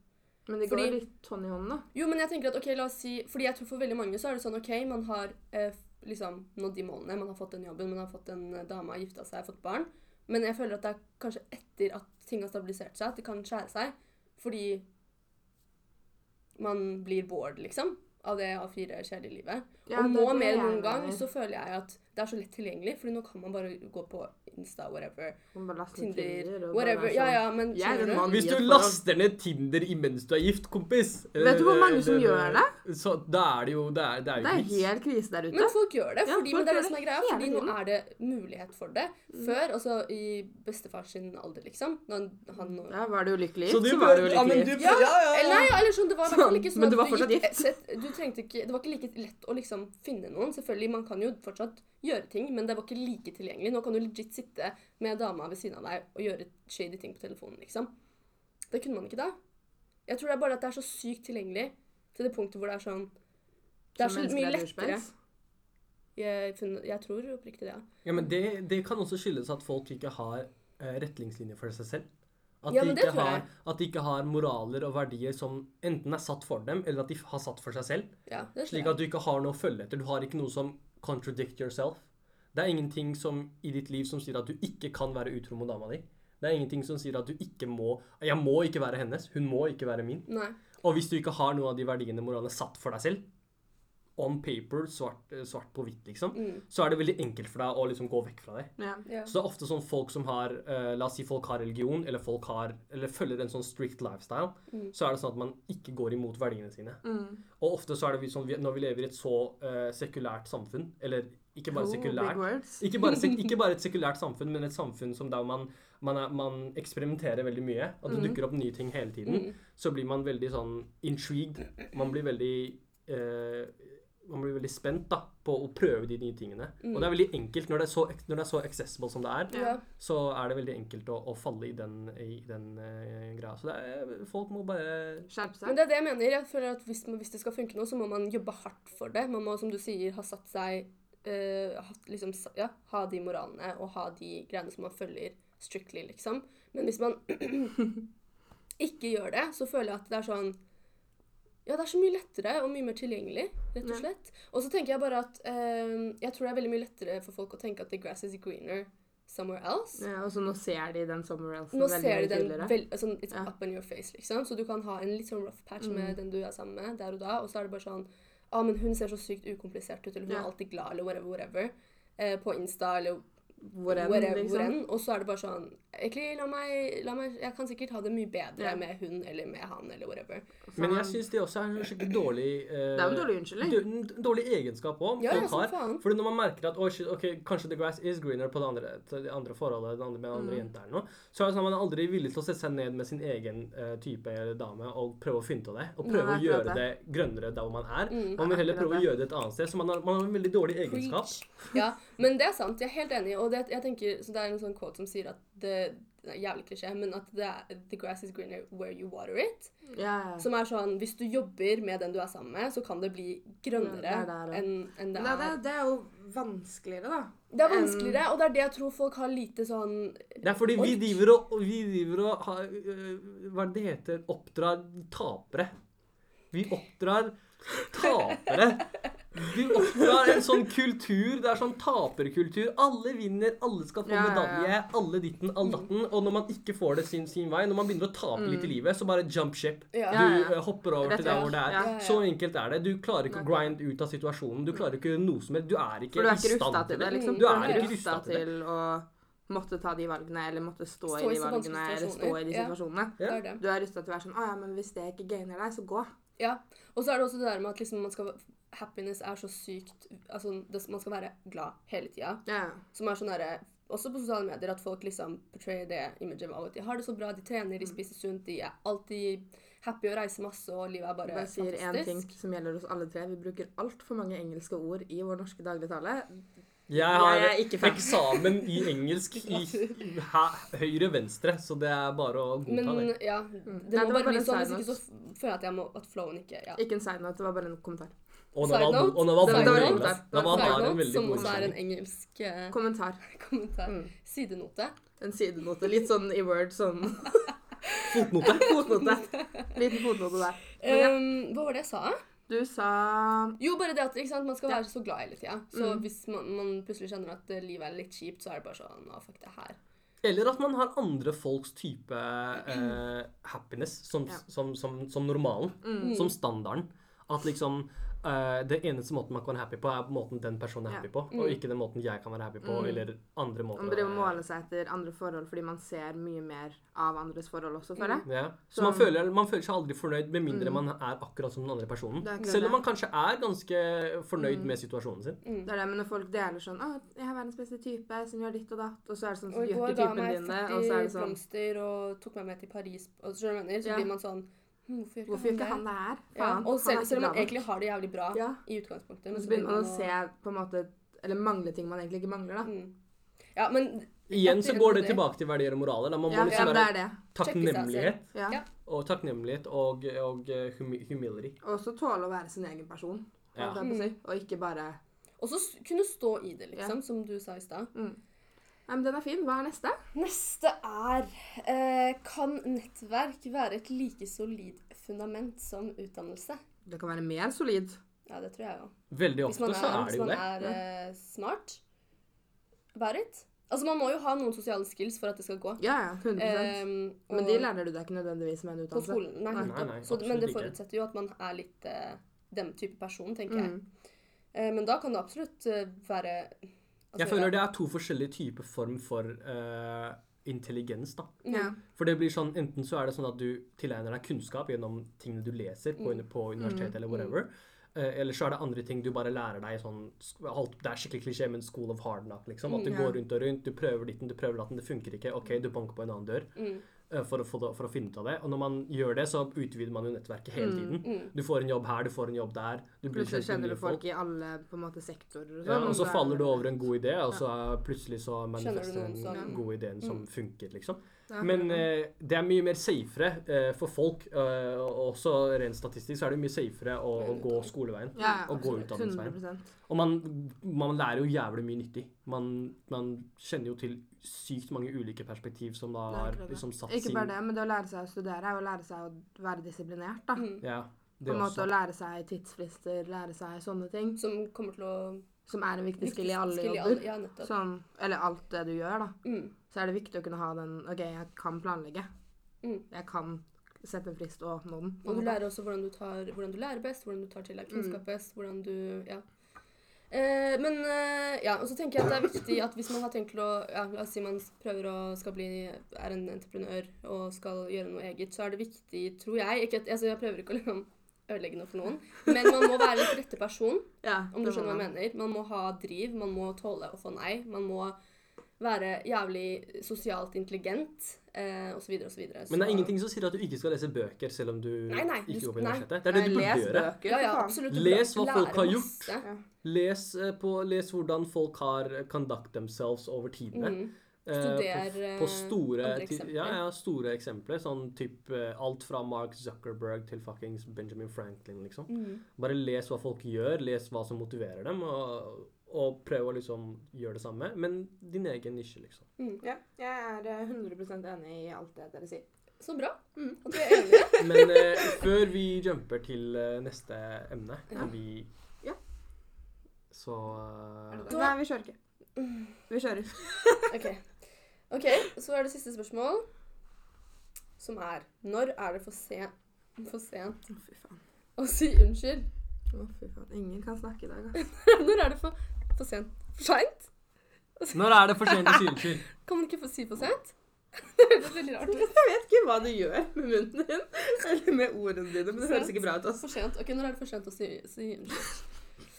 B: Men det går
C: Fordi-
B: litt hånd i hånd, da.
C: Jo, men jeg tenker at ok, la oss si Fordi jeg tror for veldig mange så er det sånn ok, man har eh, liksom nådd de målene, man har fått den jobben, man har fått en eh, dame, gifta seg, fått barn. Men jeg føler at det er kanskje etter at ting har stabilisert seg, at det kan skjære seg. Fordi man blir bored, liksom, av det A4 kjærlighetslivet.
B: Ja,
C: og
B: det
C: nå
B: er det
C: mer
B: jeg
C: enn noen gang
B: mener.
C: så føler jeg at det er så lett tilgjengelig, fordi nå kan man bare gå på Insta, whatever,
B: Man bare laster ned Tinder
C: Tinder,
B: og bare
C: whatever.
B: er
C: Ja,
B: sånn-
C: ja, men
B: Jeg er en
C: skjønner
B: mann.
C: du?
D: Hvis du
B: i et forhold.
D: laster ned Tinder imens du er gift, kompis
B: Vet du hvor
D: eh,
B: mange som gjør
D: Så da er det jo Det er, det er
B: Det
D: jo
B: er
D: vits.
B: helt krise der ute.
C: Men folk gjør det,
B: Ja,
C: fordi,
B: folk
C: men det er
B: gjør
C: det som er
B: det
C: greia,
B: hele
C: fordi nå
B: tiden.
C: er det mulighet for det.
B: Mm.
C: Før, altså i bestefars sin alder, liksom, da han, han
B: Ja, var du ulykkelig,
D: Så
B: så,
D: du
B: så var du
D: bør- ja, men
B: ulykkelig.
D: du-
C: Ja,
A: Ja, ja, ja.
C: eller Nei, ja, eller sånn, det var i hvert fall ikke
B: Sånn,
C: sånn
B: men du
C: at
B: var fortsatt
C: gikk-
B: gift.
C: sett- Du trengte ikke, det var ikke like lett å liksom finne noen. Selvfølgelig, man kan jo fortsatt gjøre ting, men det var ikke like tilgjengelig. Nå kan du legit sitte med dama ved siden av deg og gjøre shady ting på telefonen, liksom. Det kunne man ikke da. Jeg tror det er bare at det er så sykt tilgjengelig til det punktet hvor det er sånn Det er
B: Som
C: så
B: mennesker
C: mye
B: er
C: lettere.
B: douchebags.
C: Jeg, funn- jeg tror oppriktig det, ja.
D: Ja, men det, det kan også skyldes at folk ikke har eh, retningslinjer for seg selv. At,
C: Ja,
D: de
C: men det
D: ikke
C: tror jeg.
D: har, at de ikke har moraler og verdier som enten er satt for dem, eller at de f- har satt for seg selv.
C: ja det tror
D: Slik
C: jeg.
D: at du ikke har noe å følge etter. Du har ikke noe som contradict yourself. Det er ingenting som, i ditt liv som sier at du ikke kan være utro mot dama di. Det er ingenting som sier at du ikke må Jeg må ikke være hennes. Hun må ikke være min.
C: Nei.
D: Og hvis du ikke har noen av de verdiene moralene satt for deg selv, on paper, svart, eh, svart på hvitt, liksom,
C: Mm.
D: så er det veldig enkelt for deg å liksom gå vekk fra det.
B: Ja.
C: Ja.
D: Så det er ofte sånn folk som har eh, La oss si folk har religion, eller folk har Eller følger en sånn strict lifestyle,
C: Mm.
D: så er det sånn at man ikke går imot verdiene sine.
B: Mm.
D: Og ofte så er det vi- sånn vi- når vi lever i et så eh, sekulært samfunn, eller ikke bare
B: Oh,
D: sekulært
B: Big words.
D: ikke bare, sek ikke bare et sekulært samfunn, men et samfunn som der man, man, er, man eksperimenterer veldig mye. At det
B: Mhm.
D: dukker opp nye ting hele tiden.
C: Mm.
D: Så blir man veldig sånn intrigued. Man blir veldig eh, man blir veldig spent da, på å prøve de nye tingene. Og det er veldig enkelt. Når det er så, når det er så accessible som det er,
C: Ja.
D: så er det veldig enkelt å, å falle i den, i den eh, greia. Så det er, folk må bare
B: Skjerp seg.
C: Men det er det jeg mener. Jeg føler at hvis, hvis det skal funke nå, så må man jobbe hardt for det. Man må, som du sier, ha satt seg eh, hatt liksom, sa- ja, ha de moralene og ha de greiene som man følger strictly, liksom. Men hvis man ikke gjør det, så føler jeg at det er sånn Ja, det er så mye lettere og mye mer tilgjengelig, rett og
B: Ja.
C: slett. Og så tenker jeg bare at eh, Jeg tror det er veldig mye lettere for folk å tenke at the grass is greener somewhere else.
B: Ja, og så nå ser de den somewhere else
C: Nå
B: veldig
C: ser
B: mye
C: du den
B: tydeligere.
C: vel, sånn, It's
B: Ja. Mm.
C: up in your face, liksom. Så du kan ha en litt sånn rough patch med den du er sammen med der og da, og så er det bare sånn ah, men hun ser så sykt ukomplisert ut, eller hun
B: Ja.
C: er alltid glad, eller whatever, whatever. Eh, på Insta, eller
B: Hvor enn,
C: whatever, hvor
B: liksom.
C: enn. Og så er det bare sånn Egentlig, la meg, la meg Jeg kan sikkert ha det mye bedre
B: Ja.
C: med hun eller med han, eller whatever.
B: Så
D: Men
B: han-
D: jeg syns det også er en skikkelig dårlig eh,
B: Det er jo en dårlig unnskyldning.
D: dø- en dårlig egenskap òg.
C: Ja, ja, som faen.
D: Fordi når man merker at «Oi, shit, ok, kanskje the grass is greener på det andre, til det andre forholdet den andre, med den
B: Mm.
D: andre jenta eller noe, så er det sånn at man er aldri villig til å sette seg ned med sin egen eh, type eller dame og prøve å finne ut av det. Og prøve å
B: Nei, akkurat
D: gjøre det grønnere der hvor man er.
C: Mm.
D: man vil heller
B: Akkurat
D: prøve å
B: det.
D: gjøre det et annet sted. Så man har, man har en veldig dårlig egenskap.
C: Ja, men det er sant. Jeg er helt enig. Og det, jeg tenker, så det er en sånn quote som sier at det, det er jævlig klisjé, men at det er, the grass is greener where you water it.
B: Ja, ja.
C: Som er sånn, hvis du jobber med den du er sammen med, så kan det bli grønnere
B: Ja, det er det, ja.
C: enn enn det
B: Men
C: er.
B: det, det er jo vanskeligere, da.
C: Det er vanskeligere, og det er det jeg tror folk har lite sånn
D: Det er fordi vi
C: Ork.
D: driver og, og, vi driver og har, øh, Hva er det det heter? Oppdrar tapere. Vi oppdrar tapere. Vi oppdrar en sånn kultur. Det er sånn taperkultur. Alle vinner, alle skal få
B: Ja, ja, ja.
D: medalje, alle ditten, all datten. Og når man ikke får det sin, sin vei, når man begynner å tape litt i livet, så bare jump ship.
C: Ja.
D: Du
B: Mm. Ja, ja.
D: øh, hopper over
B: Rett
D: til der
B: over.
D: hvor det er.
B: Ja,
C: ja, ja.
D: Så enkelt er det. Du klarer ikke å grind ut av situasjonen. Du klarer ikke noe som helst. Du er ikke,
B: For du er ikke
D: i stand
B: rusta til det. liksom.
C: Mm,
D: Du
B: Du er
D: er
B: ikke
D: ikke
B: rusta
D: rustet til det.
B: til å måtte ta de valgene, eller måtte stå,
C: Stå i
B: i de
C: så vanskelige
B: valgene, eller stå
C: situasjoner.
B: i de
C: Ja.
B: situasjonene.
C: Det
D: Ja.
C: er det.
B: Du er rusta til å være sånn Å ja, men hvis det ikke gainer deg, så gå.
C: Ja. Og så er det også det der med at liksom man skal Happiness er så sykt Altså, det, man skal være glad hele tida.
B: Ja.
C: Som er sånn derre også på sosiale medier at folk liksom portrayer det imaget av at de har det så bra, de trener,
B: Mm.
C: de spiser sunt, de er alltid happy og reiser masse, og livet er bare
B: Bare sier én ting
C: fantastisk.
B: som gjelder oss alle tre. Vi bruker altfor mange engelske ord i vår norske dagligtale.
D: Jeg
B: Jeg
D: har
B: er ikke fan.
D: eksamen i engelsk i høyre-venstre, så det er bare å godta
C: Men
D: det.
C: ja,
B: Mm. Nei,
C: det
B: det
C: må
B: var
C: bare
B: bare
C: bli
B: en
C: sånn, hvis
B: side
C: ikke så f- føler jeg at jeg må, at flowen ikke ja.
B: Ikke en side note, det var bare en kommentar.
D: Og
C: Side
D: Naval
C: note.
B: Det var
D: Bang
B: dårlig
D: England.
B: kommentar. Det Mm.
D: Naval
B: var
D: har en
C: Side note,
D: veldig
C: som
D: god
C: også er en
D: kjenning.
C: engelsk eh,
B: Kommentar.
C: kommentar.
B: Mm.
C: Sidenote.
B: En sidenote. Litt sånn i word, sånn
D: Fotnote.
B: fotnote. Liten fotnote der. Men ja.
C: Um, hva var det jeg sa?
B: Du sa
C: Jo, bare det at ikke sant, man skal
B: Ja.
C: være så glad hele tida. Så
B: Mm.
C: hvis man, man plutselig kjenner at eh, livet er litt kjipt, så er det bare sånn Å, fuck det her.
D: Eller at man har andre folks type eh, happiness som,
B: Ja.
D: som, som, som normalen.
B: mm,
C: Mm.
D: Som standarden. At liksom eh, Det eneste måten man kan være happy på, er måten den personen er
B: Ja.
D: happy på.
C: Mm.
D: Og ikke den måten jeg kan være happy på, eller andre måter.
B: Man driver
D: å
B: og
D: være-
B: måler seg etter andre forhold fordi man ser mye mer av andres forhold også, føler
C: Mm.
B: jeg.
D: Ja. Så
B: Så-
D: man føler, man føler seg aldri fornøyd med mindre man er akkurat som den andre personen.
B: Det er akkurat
D: Selv
B: det.
D: om man kanskje er ganske fornøyd med situasjonen sin.
B: Det er det, men når folk deler sånn 'Å, jeg er verdens beste type som gjør ditt og datt', og så er det sånn
C: Og
B: som
C: i
B: gjør
C: går
B: ikke
C: ga
B: typen
C: meg
B: din det, og så er
C: 40
B: det sånn
C: blomster og tok meg med til Paris. Og så, skjønner du hva jeg mener, så
B: Ja.
C: blir man sånn hm, Hvorfor gjør ikke
B: Hvorfor gjør ikke han
C: han det?
B: det her?
C: Ja.
B: Faen.
C: Og selv,
B: han er
C: selv om
B: så
C: man
B: lavt.
C: egentlig har det jævlig bra
B: Ja.
C: i utgangspunktet.
B: Men så begynner man å
C: sånn,
B: se på en måte Eller mangle ting man egentlig ikke mangler, da.
C: Mm. Ja, men
D: Igjen så går det
C: Absolutt.
D: tilbake til verdier og moraler. Da. Man må
B: Ja, ja,
D: liksom
B: men det
D: være
B: er det.
D: takknemlighet
B: Ja.
C: Ja.
D: og, takknemlighet og, og eh, humi humility.
B: Og også tåle å være sin egen person,
D: Ja.
B: holdt jeg på å si.
C: Mm.
B: Og ikke bare
C: også s- kunne stå i det, liksom, som du sa i stad.
B: Nei, men den er fin. Hva er neste?
C: Neste er eh, Kan nettverk være et like solid fundament som utdannelse?
B: Det kan være mer solid.
C: Ja, det tror jeg òg.
D: Veldig
C: Hvis
D: ofte
C: man
D: så
C: er,
D: er det
C: hvis
D: jo
C: man
D: det.
C: er eh, smart about it. Altså, man må jo ha noen sosiale skills for at det skal gå.
B: Ja, ja. 100
C: Ehm, og-
B: Men de lærer du deg ikke nødvendigvis med en
C: på
B: utdannelse.
C: skolen. Nei,
B: Nei.
C: nettopp.
D: Nei, nei,
C: så, men
D: absolutt
C: det
D: ikke.
C: forutsetter jo at man er litt eh, den type person, tenker jeg.
B: Mm.
C: Eh, men da kan det absolutt eh, være altså,
D: Jeg føler det er to forskjellige typer form for eh, intelligens, da.
B: Ja.
D: For det blir sånn, enten så er det sånn at du tilegner deg kunnskap gjennom tingene du leser på,
B: Mm.
D: på universitetet eller whatever, eh, eller så er det andre ting du bare lærer deg sånn, sk- alt, det er skikkelig klisjé, men school of hard knock, liksom, at du
B: Mm, ja.
D: går rundt og rundt, du prøver ditten, du prøver datten, det funker ikke, ok, du banker på en annen dør,
C: mm,
D: eh, for, å få det, for å finne ut av det, og når man gjør det, så utvider man jo nettverket hele tiden. Du får en jobb her, du får en jobb der, du blir
B: Mm, Plutselig
D: kjent med
B: kjenner du
D: nye
B: folk
D: folk.
B: i alle på en måte, sektorer. sånn,
D: Ja, og så
B: Da-
D: faller du over en god idé, og så er- plutselig så
C: Skjønner du
D: manifesterer den
C: noen som-
D: gode ideen som
B: Mm.
D: funker, liksom.
B: Ja.
D: Men eh, det er mye mer safere eh, for folk, eh, og også rent statistisk så er det mye safere å, å gå skoleveien.
B: ja, ja,
D: og gå
B: absolutt.
D: utdanningsveien.
B: 100%.
D: Og man, man lærer jo jævlig mye nyttig. Man, man kjenner jo til sykt mange ulike perspektiv som da
B: Det er
D: har
B: akkurat det.
D: liksom satt
B: Ikke
D: sin
B: bare det, men det å lære seg å studere er å lære seg å være disiplinert. da.
D: Ja,
B: På
D: det
B: en måte
D: også.
B: Å lære seg tidsfrister, lære seg sånne ting.
C: Som kommer til å
B: Som er en viktig skill i alle
C: Skill
B: jobber.
C: Ja, nettopp.
B: Sånn, eller alt det du gjør, da.
C: Mm.
B: Så er det viktig å kunne ha den OK, jeg kan planlegge.
C: Mm.
B: Jeg kan sette en frist og nå den. på
C: Og
B: en
C: du
B: måte.
C: lærer også hvordan du, tar, hvordan du lærer best, hvordan du tar
D: Mm.
C: til deg kunnskap best, hvordan du Ja. Eh, men eh, ja, og så tenker jeg at det er viktig at hvis man har tenkt til å ja, La oss si man prøver å skal bli er en entreprenør og skal gjøre noe eget, så er det viktig, tror jeg ikke at, altså Jeg prøver ikke å liksom ødelegge noe for noen, men man må være litt rette person,
B: Ja,
C: om du skjønner hva jeg mener. Man må ha driv, man må tåle å få nei, man må være jævlig sosialt intelligent, eh, osv., osv.
D: Men det er ingenting som sier at du ikke skal lese bøker selv om du
C: Nei, nei, du-
D: ikke går på
C: nei.
D: universitetet. Det er det du burde
B: Les
D: gjøre.
B: bøker,
C: Ja, ja,
B: for faen.
C: absolutt. Du
D: Les hva
C: lærer
D: folk har
C: masse.
D: gjort. Les, eh, på, les hvordan folk har conduct themselves over tidene.
C: Mm,
D: Eh,
C: Studer,
D: på,
C: eh,
D: på store,
C: andre
D: ti-
C: eksempler.
D: ja, ja, store eksempler. Sånn typ, eh, alt fra Mark Zuckerberg til fuckings Benjamin Franklin, liksom.
C: mm.
D: Bare les hva folk gjør, les hva som motiverer dem, og, og prøv å liksom gjøre det samme. Men din egen nisje, liksom.
B: Ja, jeg er eh, 100 enig i alt det dere sier.
C: Så bra. At vi er enige.
D: Men eh, før vi jumper til eh, neste emne, kan vi
B: Ja.
D: Så eh,
C: Da-
B: Nei, vi kjører ikke. Vi kjører.
C: Ok. ok, så er det siste spørsmål, som er Når er det for, se for sent
B: Å, fy faen.
C: å si unnskyld?
B: Å, fy faen. Ingen kan snakke i dag, ass.
C: Når er det for, for sent? For seint?
D: Når er det for sent å si unnskyld?
C: Kan man ikke få si for sent? Det høres veldig rart ut.
B: Jeg vet ikke hva du gjør med munnen din, eller med ordene dine, men det høres ikke bra ut, ass.
C: For sent. Ok, når er det for sent å si, si unnskyld?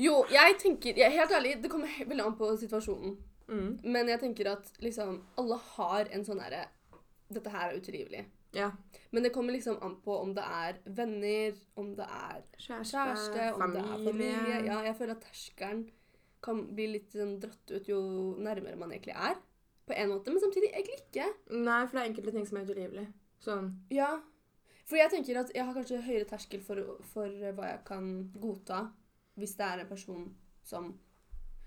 C: Jo, jeg tenker jeg, Helt ærlig, det kommer he- veldig an på situasjonen.
B: Mm.
C: Men jeg tenker at liksom alle har en sånn derre Dette her er utilgivelig.
B: Ja.
C: Men det kommer liksom an på om det er venner, om det er
B: Kjæreste,
C: kjæreste, om det er familie.
B: familie.
C: Ja, jeg føler at terskelen kan bli litt sånn dratt ut jo nærmere man egentlig er. På en måte, men samtidig egentlig ikke.
B: Nei, for det er enkelte ting som er utilgivelig. Sånn
C: Ja. For jeg tenker at jeg har kanskje høyere terskel for, for hva jeg kan godta hvis det er en person som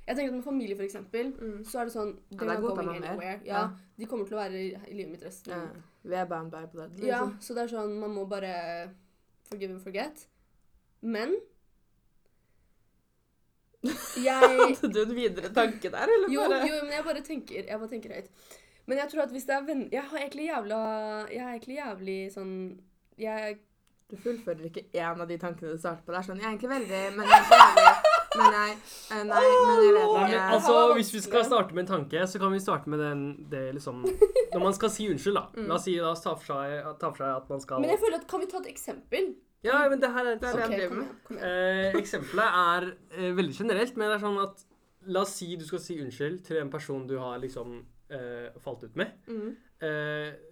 C: Jeg tenker at med familie, for eksempel,
B: mm.
C: så er det sånn
B: der
C: They're not
B: godtar
C: going
B: man mer.
C: anywhere. Ja,
B: Ja.
C: De kommer til å være i i livet mitt resten
B: ja. Vi er bound by blood.
C: Ja,
B: Liksom.
C: så det er sånn Man må bare forgive and forget. Men jeg
B: Hadde du en videre tanke der, eller
C: jo,
B: bare
C: jo, men jeg bare tenker Jeg bare tenker høyt. Men jeg tror at hvis det er venner Jeg har egentlig jævla Jeg er egentlig jævlig sånn Jeg
B: Du fullfører ikke én av de tankene du startet på. Det er sånn Jeg er egentlig veldig Men jeg er ikke veldig Men jeg eh, Nei, men jeg vet
D: Nei, men
B: ikke.
D: altså, Hvis vi skal starte med en tanke, så kan vi starte med den det liksom Når man skal si unnskyld, da. La oss si, la oss ta for seg, ta for seg at man skal
C: Mm. Men jeg føler at Kan vi ta et eksempel?
D: Ja, men det her er
B: Det er det
C: Ok,
B: jeg driver
C: kom
B: med.
C: igjen. Kom igjen.
D: Eh, eksempelet er eh, veldig generelt, men det er sånn at La oss si du skal si unnskyld til en person du har liksom eh, falt ut med.
B: Mm.
D: Eh,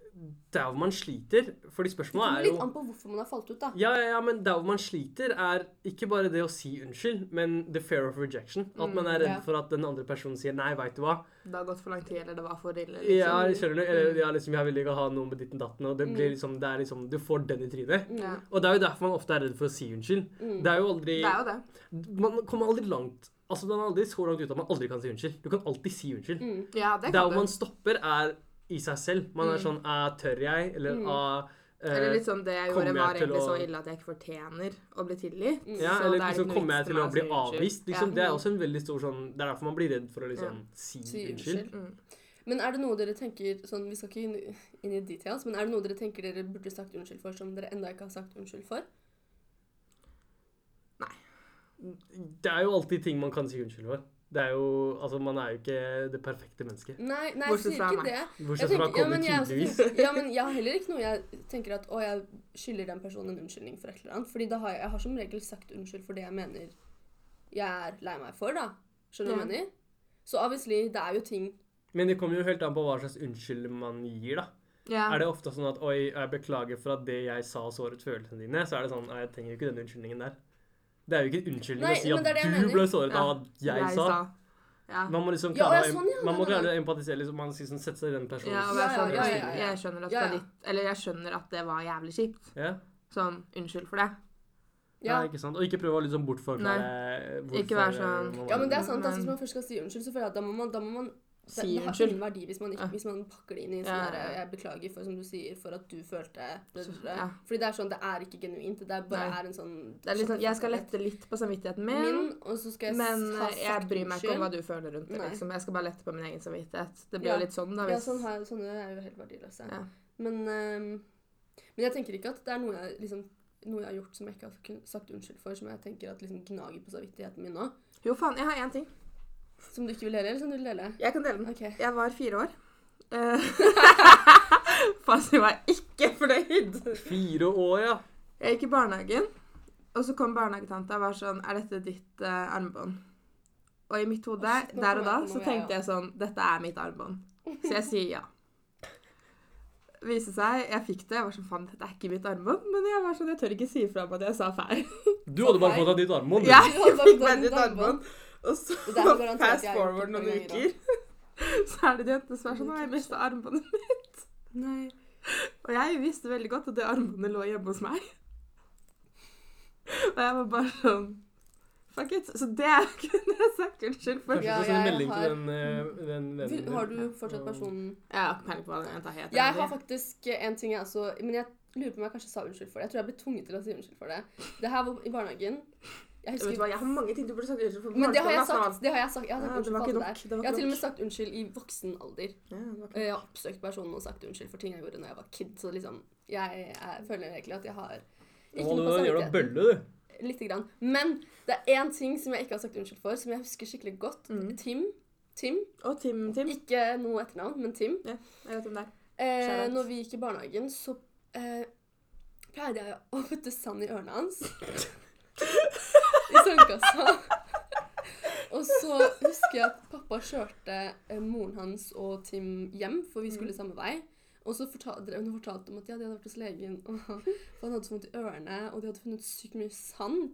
D: der hvor man sliter Fordi
C: Det
D: spørsmålet
C: kommer
D: er jo
C: litt an på hvorfor man har falt ut, da.
D: ja, ja, ja, men der hvor man sliter, er ikke bare det å si unnskyld, men the fear of rejection. At man er
C: Mm, ja.
D: redd for at den andre personen sier 'nei, veit du hva',
B: Det har gått for lang tid, eller det var for ille.
D: Ja,
B: Liksom.
D: skjønner du? Eller, ja, liksom, jeg vil ikke ha noe med ditten datten, og det blir
B: Mm.
D: liksom, det er liksom, du får den i trynet.
B: Ja.
D: Og det er jo derfor man ofte er redd for å si unnskyld. Det er jo aldri,
B: Mm. Det er jo det.
D: man kommer aldri langt, altså man er aldri så langt ut at man aldri kan si unnskyld. Du kan alltid si
C: Mm,
D: unnskyld.
B: Ja, Mm,
D: Der
B: det kan
D: hvor man
B: du. Mm.
D: stopper er i seg selv. Man er sånn, «Æ, tør jeg? Eller, «Æ, eh,
B: Eller litt sånn Det jeg
D: kommer
B: gjorde,
D: jeg
B: var
D: til
B: egentlig
D: å-
B: så ille at jeg ikke fortjener å bli tilgitt.
C: Mm.
D: ja,
B: sånn, så
D: eller
B: det er
D: liksom
B: ikke noe
D: kommer jeg
B: vits for
D: til å
B: meg å
D: bli
B: si unnskyld.
D: avvist? Liksom,
B: Ja. Mm.
D: Det er også en veldig stor sånn, det er derfor man blir redd for å liksom si,
C: Si
D: unnskyld.
C: unnskyld. Mm. Men er det noe dere tenker sånn, Vi skal ikke inn, inn i details, men er det noe dere tenker dere burde sagt unnskyld for, som dere enda ikke har sagt unnskyld for?
D: Det er jo alltid ting man kan si unnskyld for. Det er jo, altså man er jo ikke det perfekte mennesket.
C: Nei, nei jeg
B: Bortsett
C: sier
B: fra
C: ikke
B: meg.
C: det. Jeg
D: Bortsett fra
C: tenker, ja,
D: kommer
C: men jeg, også
D: tidligvis.
C: tenker- ja, men jeg har heller ikke noe jeg tenker at å, jeg skylder den personen en unnskyldning for et eller annet. Fordi da har jeg, jeg har som regel sagt unnskyld for det jeg mener jeg er lei meg for, da. Skjønner du hva jeg mener? Så obviously, det er jo ting
D: Men det kommer jo helt an på hva slags unnskyld man gir, da.
B: Ja.
D: Er det ofte sånn at 'oi, jeg beklager for at det jeg sa såret følelsene dine', så er det sånn 'nei, jeg trenger jo ikke den unnskyldningen der'. Det er jo ikke en unnskyldning
C: Nei,
D: å si
C: men
D: at
C: det er det jeg
D: du
C: mener.
D: ble såret av
B: Ja.
D: at jeg, sa.
B: Ja.
D: Man må liksom
C: Ja,
D: klare,
C: å, ja,
D: å-
C: sånn, ja,
D: man må
C: ja, ja.
D: klare å empatisere, liksom, man skal liksom sette seg i den personens
B: Ja, sånn. og
C: Ja,
B: jeg
C: ja,
B: skjønner,
C: ja, ja, ja.
B: Jeg, skjønner at
C: Ja,
B: fra
C: ja.
B: ditt Eller jeg skjønner at det var jævlig kjipt.
D: ja.
B: Sånn, unnskyld for det.
C: Ja,
D: Nei, ikke sant? Og ikke prøve å liksom bortforklare hvorfor
B: Ikke være sånn-
D: man-
C: ja men det er sant. Altså,
B: Men-
C: hvis man først skal si unnskyld, så føler jeg at da må man, da må man det,
B: Si
C: det har
B: unnskyld.
C: ingen verdi hvis man, ikke,
B: Ja.
C: hvis man pakker det inn i en
B: Ja,
C: sånn
B: ja, ja.
C: der, 'jeg beklager for', som du sier, for at du følte det.
B: Så-
C: det.
B: ja.
C: Fordi det er sånn, det er ikke genuint. Det er bare
B: Nei.
C: er en sånn
B: Det er litt sånn, Jeg skal lette litt på samvittigheten min,
C: min, og så skal jeg
B: men
C: s- ha
B: eh, jeg
C: sagt
B: bryr meg ikke om
C: unnskyld.
B: hva du føler rundt det.
C: Nei.
B: liksom. Jeg skal bare lette på min egen samvittighet. Det blir
C: Ja.
B: jo litt sånn, da.
C: Ja,
B: Hvis,
C: sånn her, sånne er jo helt verdiløse.
B: Ja.
C: Men, ehm, men jeg tenker ikke at det er noe jeg, liksom, noe jeg har gjort som jeg ikke har kun- sagt unnskyld for, som jeg tenker at liksom gnager på samvittigheten min nå.
B: Jo, faen, jeg har én ting.
C: Som du ikke vil dele, eller som du vil dele?
B: Jeg kan dele den.
C: Ok.
B: Jeg var fire år. Eh, Fasit var ikke fornøyd.
D: Fire år, ja.
B: Jeg gikk i barnehagen, og så kom barnehagetanta og var sånn Er dette ditt eh, armbånd? Og i mitt hode,
C: Å, shit, nå
B: der og
C: kommer
B: da,
C: jeg på
B: så
C: noe,
B: tenkte
C: ja, ja.
B: jeg sånn Dette er mitt armbånd. Så jeg sier ja. Viste seg, jeg fikk det. Jeg var sånn Faen, dette er ikke mitt armbånd. Men jeg var sånn, jeg tør ikke si ifra om at jeg sa feil.
D: Du hadde bare fått deg ditt armbånd. du.
B: Ja,
C: Du
B: jeg
C: hadde
B: fikk
C: fått
B: meg
C: ditt
B: ditt
C: armbånd.
B: armbånd. Og så
C: Det der var garantert
B: fast
C: jeg gjort
B: forward
C: noen
B: noen
C: ganger,
B: uker, så er det en jente som er sånn Å, jeg mista armbåndet mitt.
C: Nei.
B: Og jeg visste veldig godt at det armbåndet lå hjemme hos meg. Og jeg var bare sånn Fuck it. Så det kunne jeg sagt unnskyld for.
D: Kanskje
C: Ja,
D: du skal sende
C: jeg
D: melding
C: har-
D: til den, eh, den vennen
C: Du-
D: din.
C: Har du fortsatt personen
B: Jeg har ikke peiling på hva den jenta heter.
C: Jeg har faktisk en ting jeg også Men jeg lurer på om jeg kanskje sa unnskyld for det. Jeg tror jeg ble tvunget til å si unnskyld for det. Det her var i barnegagen. Jeg
B: Vet du
C: husker
B: hva, jeg har mange ting du burde sagt unnskyld for. på
C: Men det har jeg
B: barneskolen,
C: sagt. Det har jeg sagt. Jeg har
B: Ja,
C: sagt
B: det
C: unnskyld
B: var
C: for
B: ikke nok,
C: alle der.
B: det var
C: Jeg har
B: ikke
C: til og med
B: nok.
C: sagt unnskyld i voksen alder.
B: faen. Ja, det var ikke-
C: Jeg har oppsøkt personen og sagt unnskyld for ting jeg gjorde da jeg var kid. Så liksom, jeg, jeg føler egentlig at jeg har ikke
D: Å,
C: noe
D: du
C: på
D: er en jævla
C: samvittigheten.
D: bølle, du.
C: Lite grann. Men det er én ting som jeg ikke har sagt unnskyld for, som jeg husker skikkelig godt.
B: Mm.
C: Tim. Tim.
B: Og Tim, Tim.
C: Ikke noe etternavn, men Tim.
B: Jeg vet om det er.
C: Eh,
B: Shout out.
C: når vi gikk i barnehagen, så eh, pleide jeg å putte sand i ørene hans. I sandkassa. Og så husker jeg at pappa kjørte eh, moren hans og Tim hjem, for vi
B: Mm.
C: skulle samme vei. Og så fortalte, drev hun og fortalte om at ja, de hadde vært hos legen, og for han hadde så vondt i ørene, og de hadde funnet sykt mye sand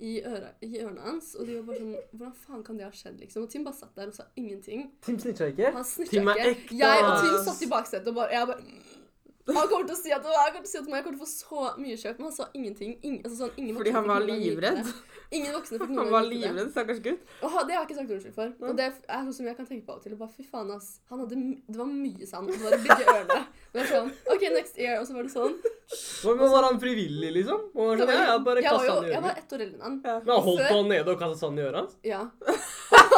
C: i, øra, i ørene hans. Og de var bare sånn Hvordan faen kan det ha skjedd, liksom? Og Tim bare satt der og sa ingenting.
D: Tim snitcha ikke.
C: Han snitcha
D: Tim er
C: ikke.
D: ekte,
C: Jeg og Tim
D: ass.
C: satt i baksetet og bare, jeg bare mm. han kommer til å si at han kommer til å si at meg, jeg kommer til å få så mye kjøp, men han sa ingenting. Ingen, altså sånn, ingen
B: Fordi
C: voksne
B: han
C: fikk
B: var
C: noen gang vite det.
B: livredd.
C: Ingen voksne fikk noen
B: Han
C: gang
B: var
C: vite det.
B: livredd, stakkars gutt.
C: Åh, det har jeg ikke sagt unnskyld for. Og det er noe som jeg kan tenke på av og til. Og bare, fy faen, ass. Han hadde, m- det var mye sand. Og det var begge ørene. Det var sånn, OK, next year. Og så var det sånn.
D: Men Var han frivillig, liksom? Og han
C: Så
D: var sånn,
C: var
D: ja, jeg bare
C: jeg var
D: kastet
C: jo
D: han i
C: jeg var
D: øret.
C: ett år eldre enn han.
D: Men han holdt
C: før-
D: han nede og kastet sand i øret hans?
C: Ja.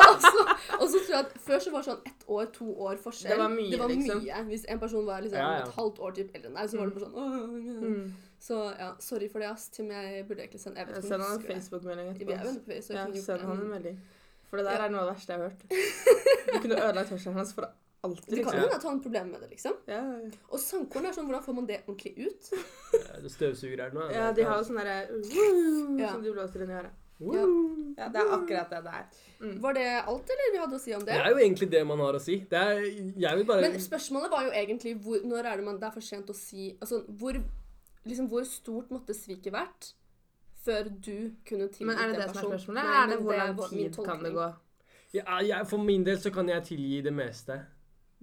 C: og, så, og så tror jeg at før så var det sånn ett år, to år forskjell.
B: Det var mye, liksom.
C: mye. Hvis en person var liksom
D: Ja, ja.
C: et halvt år typ eldre enn deg, så var det bare sånn åh,
B: Mm.
C: Så ja, sorry for det, ass. Tim, jeg burde egentlig sende Jeg vet ikke
B: Send
C: om
B: han en
C: du husker det.
B: Facebook-melding
C: Vi er venner
B: etterpå.
C: på Facebook. så jeg
B: Ja,
C: kunne gjort
B: send
C: det,
B: han en
C: men-
B: melding. For det der
C: Ja.
B: er noe av det verste jeg har hørt. Du kunne ødelagt hørselen hans for alltid.
C: Det kan
B: liksom.
C: hende at han har problemer med det, liksom.
B: Ja,
C: Og sandkorn er sånn, hvordan får man det ordentlig ut?
D: Ja, det Støvsuger her nå?
B: ja, de har jo sånn derre «woo»
C: Ja.
B: som du blåser inn i øret.
D: Ja.
B: Ja, det er akkurat det det er.
C: Var det alt, eller vi hadde å si om
D: Det
C: det?
D: er jo egentlig det man har å si. Det er, jeg vil bare
C: Men spørsmålet var jo egentlig hvor, når er det man det er for sent å si Altså hvor, liksom, hvor stort måtte sviket vært før du kunne tilgitt
B: Men er det det
C: en
B: som er
C: person?
B: spørsmålet?
C: Nei,
B: Er det
C: men
B: hvor lang
C: var min
B: tid kan det
C: tolkning.
B: gå?
D: ja, jeg, For min del så kan jeg tilgi det meste.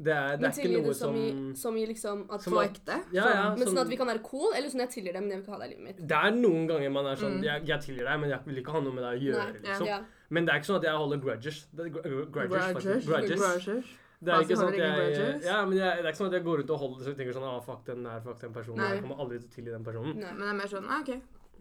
D: Det er, det
C: Men
D: er ikke
C: tilgi
D: noe
C: det som,
D: som
C: i, som i liksom at
D: Som
B: På
D: at-
B: ekte?
D: Ja, ja.
C: Men sånn
D: sånn-
C: at vi kan være cool, eller sånn jeg tilgir det, men jeg vil ikke ha deg i livet mitt.
D: Det er noen ganger man er sånn jeg, jeg tilgir deg, men jeg vil ikke ha noe med deg å gjøre.
C: Nei,
B: ja.
D: liksom.
C: Ja.
D: Men det er ikke sånn at jeg holder grudges. Det, er gr- gr- grudges, faktisk.
B: Grudges.
D: grudges.
B: Grudges.
D: Det er
B: Faen, så
D: ikke sånn
B: holder
D: at
B: ingen
D: jeg,
B: grudges.
D: ja, men jeg, det er ikke sånn at jeg går rundt og holder så jeg tenker sånn ah, fuck den der, fuck den personen.
B: Nei.
D: Jeg kommer aldri til å tilgi den personen.
C: Nei.
B: Men det er mer sånn ah, OK,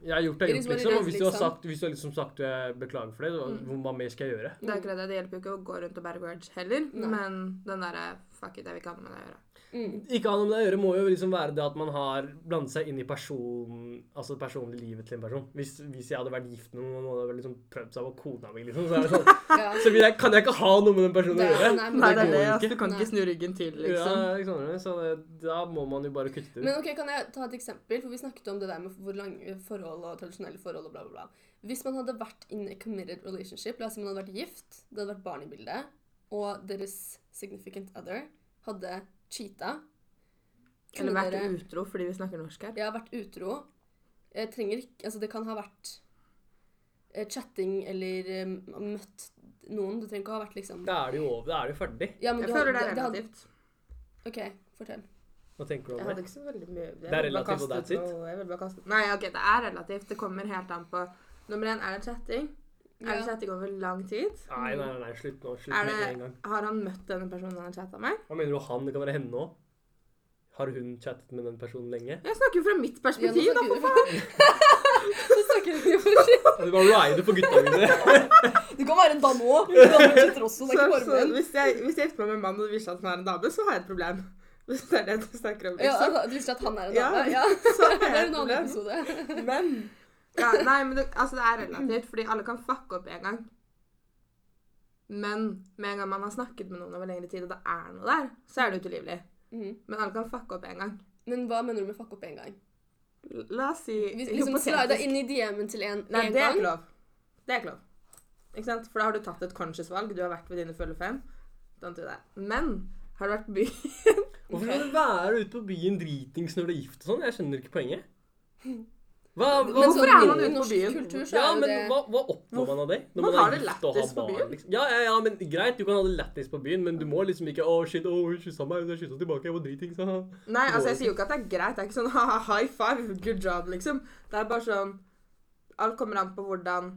D: Jeg har gjort det,
C: It is
D: gjort,
C: what it
D: liksom.
C: is,
D: Og hvis du har
C: liksom.
D: sagt, hvis du har liksom sagt eh, beklager for det, så,
C: Mm.
D: hvor- hva mer skal jeg gjøre?
B: det er akkurat det. Det hjelper jo ikke å gå rundt og bære grudge heller.
C: Nei.
B: Men den derre fuck it, jeg vil ikke ha noe med det å gjøre.
C: Mm.
D: Ikke ha noe med det å gjøre må jo liksom være det at man har blandet seg inn i person, altså det personlige livet til en person. Hvis, hvis jeg hadde vært gift med noen og hadde liksom prøvd seg på kona mi, liksom, så, er det sånn,
C: Ja. altså.
D: så vil jeg, kan jeg ikke ha noe med den personen å
C: Det-
D: gjøre.
C: nei, men det altså,
D: det
C: er
D: går jo
B: ass.
D: ikke.
B: Du kan
C: Nei.
B: ikke snu ryggen til, liksom.
D: Ja, ikke sant, så det, da må man jo bare kutte det ut.
C: Men ok, Kan jeg ta et eksempel? For Vi snakket om det der med hvor lange forhold og tradisjonelle forhold og bla, bla, bla. Hvis man hadde vært in a committed relationship, la oss si man hadde vært gift, det hadde vært barn i bildet, og deres significant other hadde cheata
B: Eller
C: kunne
B: vært
C: dere-
B: utro fordi vi snakker norsk her.
C: Jeg har vært utro. Jeg trenger ikke Altså, det kan ha vært eh, chatting eller eh, møtt noen. Det trenger ikke å ha vært liksom
D: Da er det jo over, da er det jo ferdig.
C: ja, men
B: Jeg
C: du har-
B: føler det er
C: det- det
B: relativt.
C: hadde- OK, fortell.
D: Hva tenker du
B: Jeg
D: om
B: hadde
D: det?
B: ikke så veldig mye
D: Det er relativt, og that's it.
B: it. Nei, ok, det er relativt. Det kommer helt an på Nummer én, er det chatting? Er det
C: Ja.
B: chatting over lang tid?
D: Nei, nei, nei, nei, slutt nå. Slutt
B: Er
D: med en
B: det,
D: gang.
B: har han møtt denne personen han har chatta med?
D: Hva mener du han? Det kan være henne òg. Har hun chattet med den personen lenge?
B: Jeg snakker jo fra mitt
C: Ja, nå
B: perspektiv, da,
C: snakker
B: for
C: du-
B: faen!
C: Nå snakker du for shit.
D: Du bare rider på gutta mine.
C: Du kan være en dame òg. Du kan være chatter også,
B: Så,
C: det er ikke
B: så
C: bare menn.
B: hvis, jeg, hvis jeg gifter meg med en mann og det viser seg at han er en dame, så har jeg et problem. Hvis det er det du snakker om.
C: Ja,
B: Liksom.
C: altså, du visste at han er en
B: Ja.
C: dame? Ja.
B: Så har
C: Det
B: jeg
C: er
B: et
C: en annen
B: problem.
C: episode.
B: Men ja, Nei, men det, altså, det er relativt, fordi alle kan fucke opp en gang. Men med en gang man har snakket med noen over lengre tid, og det er noe der, så er det utilgivelig.
C: Mhm.
B: Men alle kan fucke opp en gang.
C: Men hva mener du med fuck opp én gang?
B: L- La oss si
C: Hvis, liksom slida inn i DM-en til en
B: Nei,
C: en
B: det er
C: gang?
B: ikke lov. Det er ikke lov. Ikke sant? For da har du tatt et conscious valg. Du har vært ved dine fulle fem. Don't do that. Men har du vært på byen
D: Hvorfor skal du være ute på byen dritings når du er gift og sånn? Jeg skjønner ikke poenget. Hva, hva,
B: Men så- hvorfor er man
C: sånn i
B: ute på
C: norsk
B: byen?
C: kultur, så
D: ja,
C: er jo
D: men
C: det
D: hva, hva oppnår man av det? Når
B: Man
D: er
B: har det
D: gift og har
B: lættis på
D: barn,
B: byen.
D: Liksom. Ja, ja, ja, men greit, du kan ha det lættis på byen, men du må liksom ikke Å, shit, å, hun kyssa meg, hun kyssa tilbake, jeg var dritings. haha».
B: Nei, altså jeg sier jo ikke at det er greit. Det er ikke sånn haha, high five, good job, liksom. Det er bare sånn Alt kommer an på hvordan,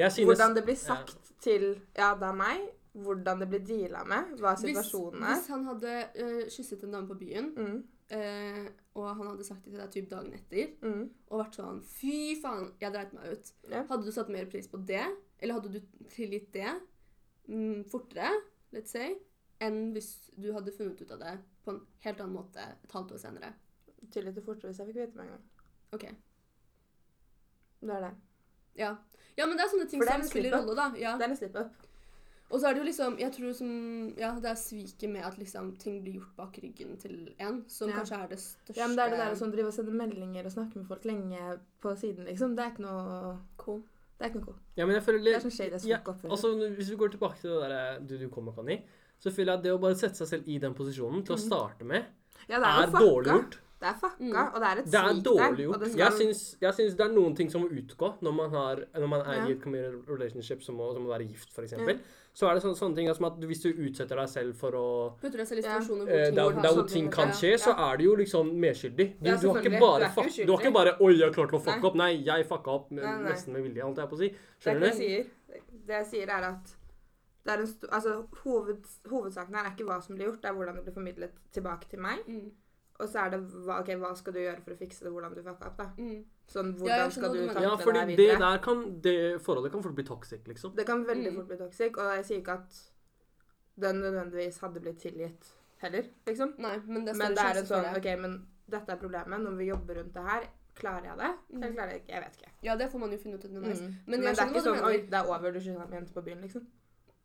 D: Jeg synes
B: hvordan det blir sagt til Ja, det er meg. Hvordan det blir deala med. Hva situasjonen
C: hvis,
B: er.
C: hvis han hadde eh, kysset en dame på byen,
B: Mm,
C: eh, og han hadde sagt det til deg typ dagen etter,
B: mm.
C: og vært sånn Fy faen, jeg dreit meg ut.
B: Ja.
C: Hadde du satt mer pris på det, eller hadde du tilgitt det mm, fortere, let's say, enn hvis du hadde funnet ut av det på en helt annen måte et halvt år senere?
B: Tillit til fortere hvis jeg fikk vite med en gang.
C: OK.
B: Det er det.
C: Ja. ja, men det er sånne ting
B: For det er
C: som
B: en
C: spiller
B: slip-up.
C: rolle, da. Ja.
B: Det er en slip-up.
C: Og så er det jo liksom Jeg tror som Ja, det er sviket med at liksom ting blir gjort bak ryggen til en, som
B: Ja.
C: kanskje er det største
B: Ja, men det er det der å sånn drive og sende meldinger og snakke med folk lenge på siden, liksom. Det er ikke noe
C: Cool.
B: Det er koko.
D: Ja, men jeg føler
B: Det
D: litt
B: er sånn shade jeg
D: Ja,
B: snakker opp for.
D: altså, Hvis vi går tilbake til det der eh, du, du kom med, Conny, så føler jeg at det å bare sette seg selv i den posisjonen til å starte med,
B: ja, Mm. det
D: er
B: jo
D: dårlig
B: fucka.
D: gjort.
B: Det er fucka, og det er et
D: Det er
B: svik
D: dårlig
B: og
D: gjort.
B: det
D: Jeg
B: skal-
D: syns, jeg syns det er noen ting som må utgå når man, har, når man er
B: Ja.
D: i et committed relationship som å, som å være gift, f.eks. eksempel Så er det sånn, sånne, sånne ting da, som at hvis du utsetter deg selv for å
C: Putter deg selv i
B: Ja.
C: situasjoner hvor
D: eh,
C: ting
D: der,
C: går sånn,
D: der
B: sånne
D: hvor
B: ting
D: ting
B: ut,
D: kan
B: ja.
D: skje, så er du jo liksom medskyldig. Du,
B: Ja,
D: du, har ikke
B: selvfølgelig.
D: bare
B: Du er ikke
D: fuck, du har
B: uskyldig.
D: ikke bare 'Oi, jeg klarte å fucke
B: Nei.
D: opp'. Nei, jeg fucka opp med,
B: Nei, nei.
D: nesten med vilje, holdt jeg på å si.
B: Det er
D: Skjønner
B: ikke
D: du?
B: det jeg sier. Det jeg sier, er at det er en sto- altså, hoved, hovedsaken her er ikke hva som blir gjort, det er hvordan det blir formidlet tilbake til meg.
C: Mm,
B: Og så er det hva, ok, hva skal du gjøre for å fikse det, hvordan du fucka opp, da.
C: mm.
B: Sånn, hvordan
C: Ja, jeg skjønner hva
B: skal du
C: du mener.
B: takle
D: Ja,
B: det
D: fordi
B: her
D: det
B: videre?
D: der kan det, Forholdet kan fort bli toxic, liksom.
B: Det kan veldig
C: Mm.
B: fort bli toxic, og jeg sier ikke at den nødvendigvis hadde blitt tilgitt heller, liksom.
C: Nei, men det er
B: Men
C: større
B: det er en
C: sjanse for
B: sånn
C: det.
B: OK, men dette er problemet. Når vi jobber rundt det her, klarer jeg det? Eller
C: Mm.
B: klarer jeg det ikke? Jeg vet ikke.
C: Ja, det får man jo finne ut
B: Mm.
C: underveis.
B: Men,
C: Men jeg
B: det er
C: skjønner
B: ikke
C: hva du
B: sånn
C: mener.
B: Oi, det er over, du kysser en jente på byen, liksom.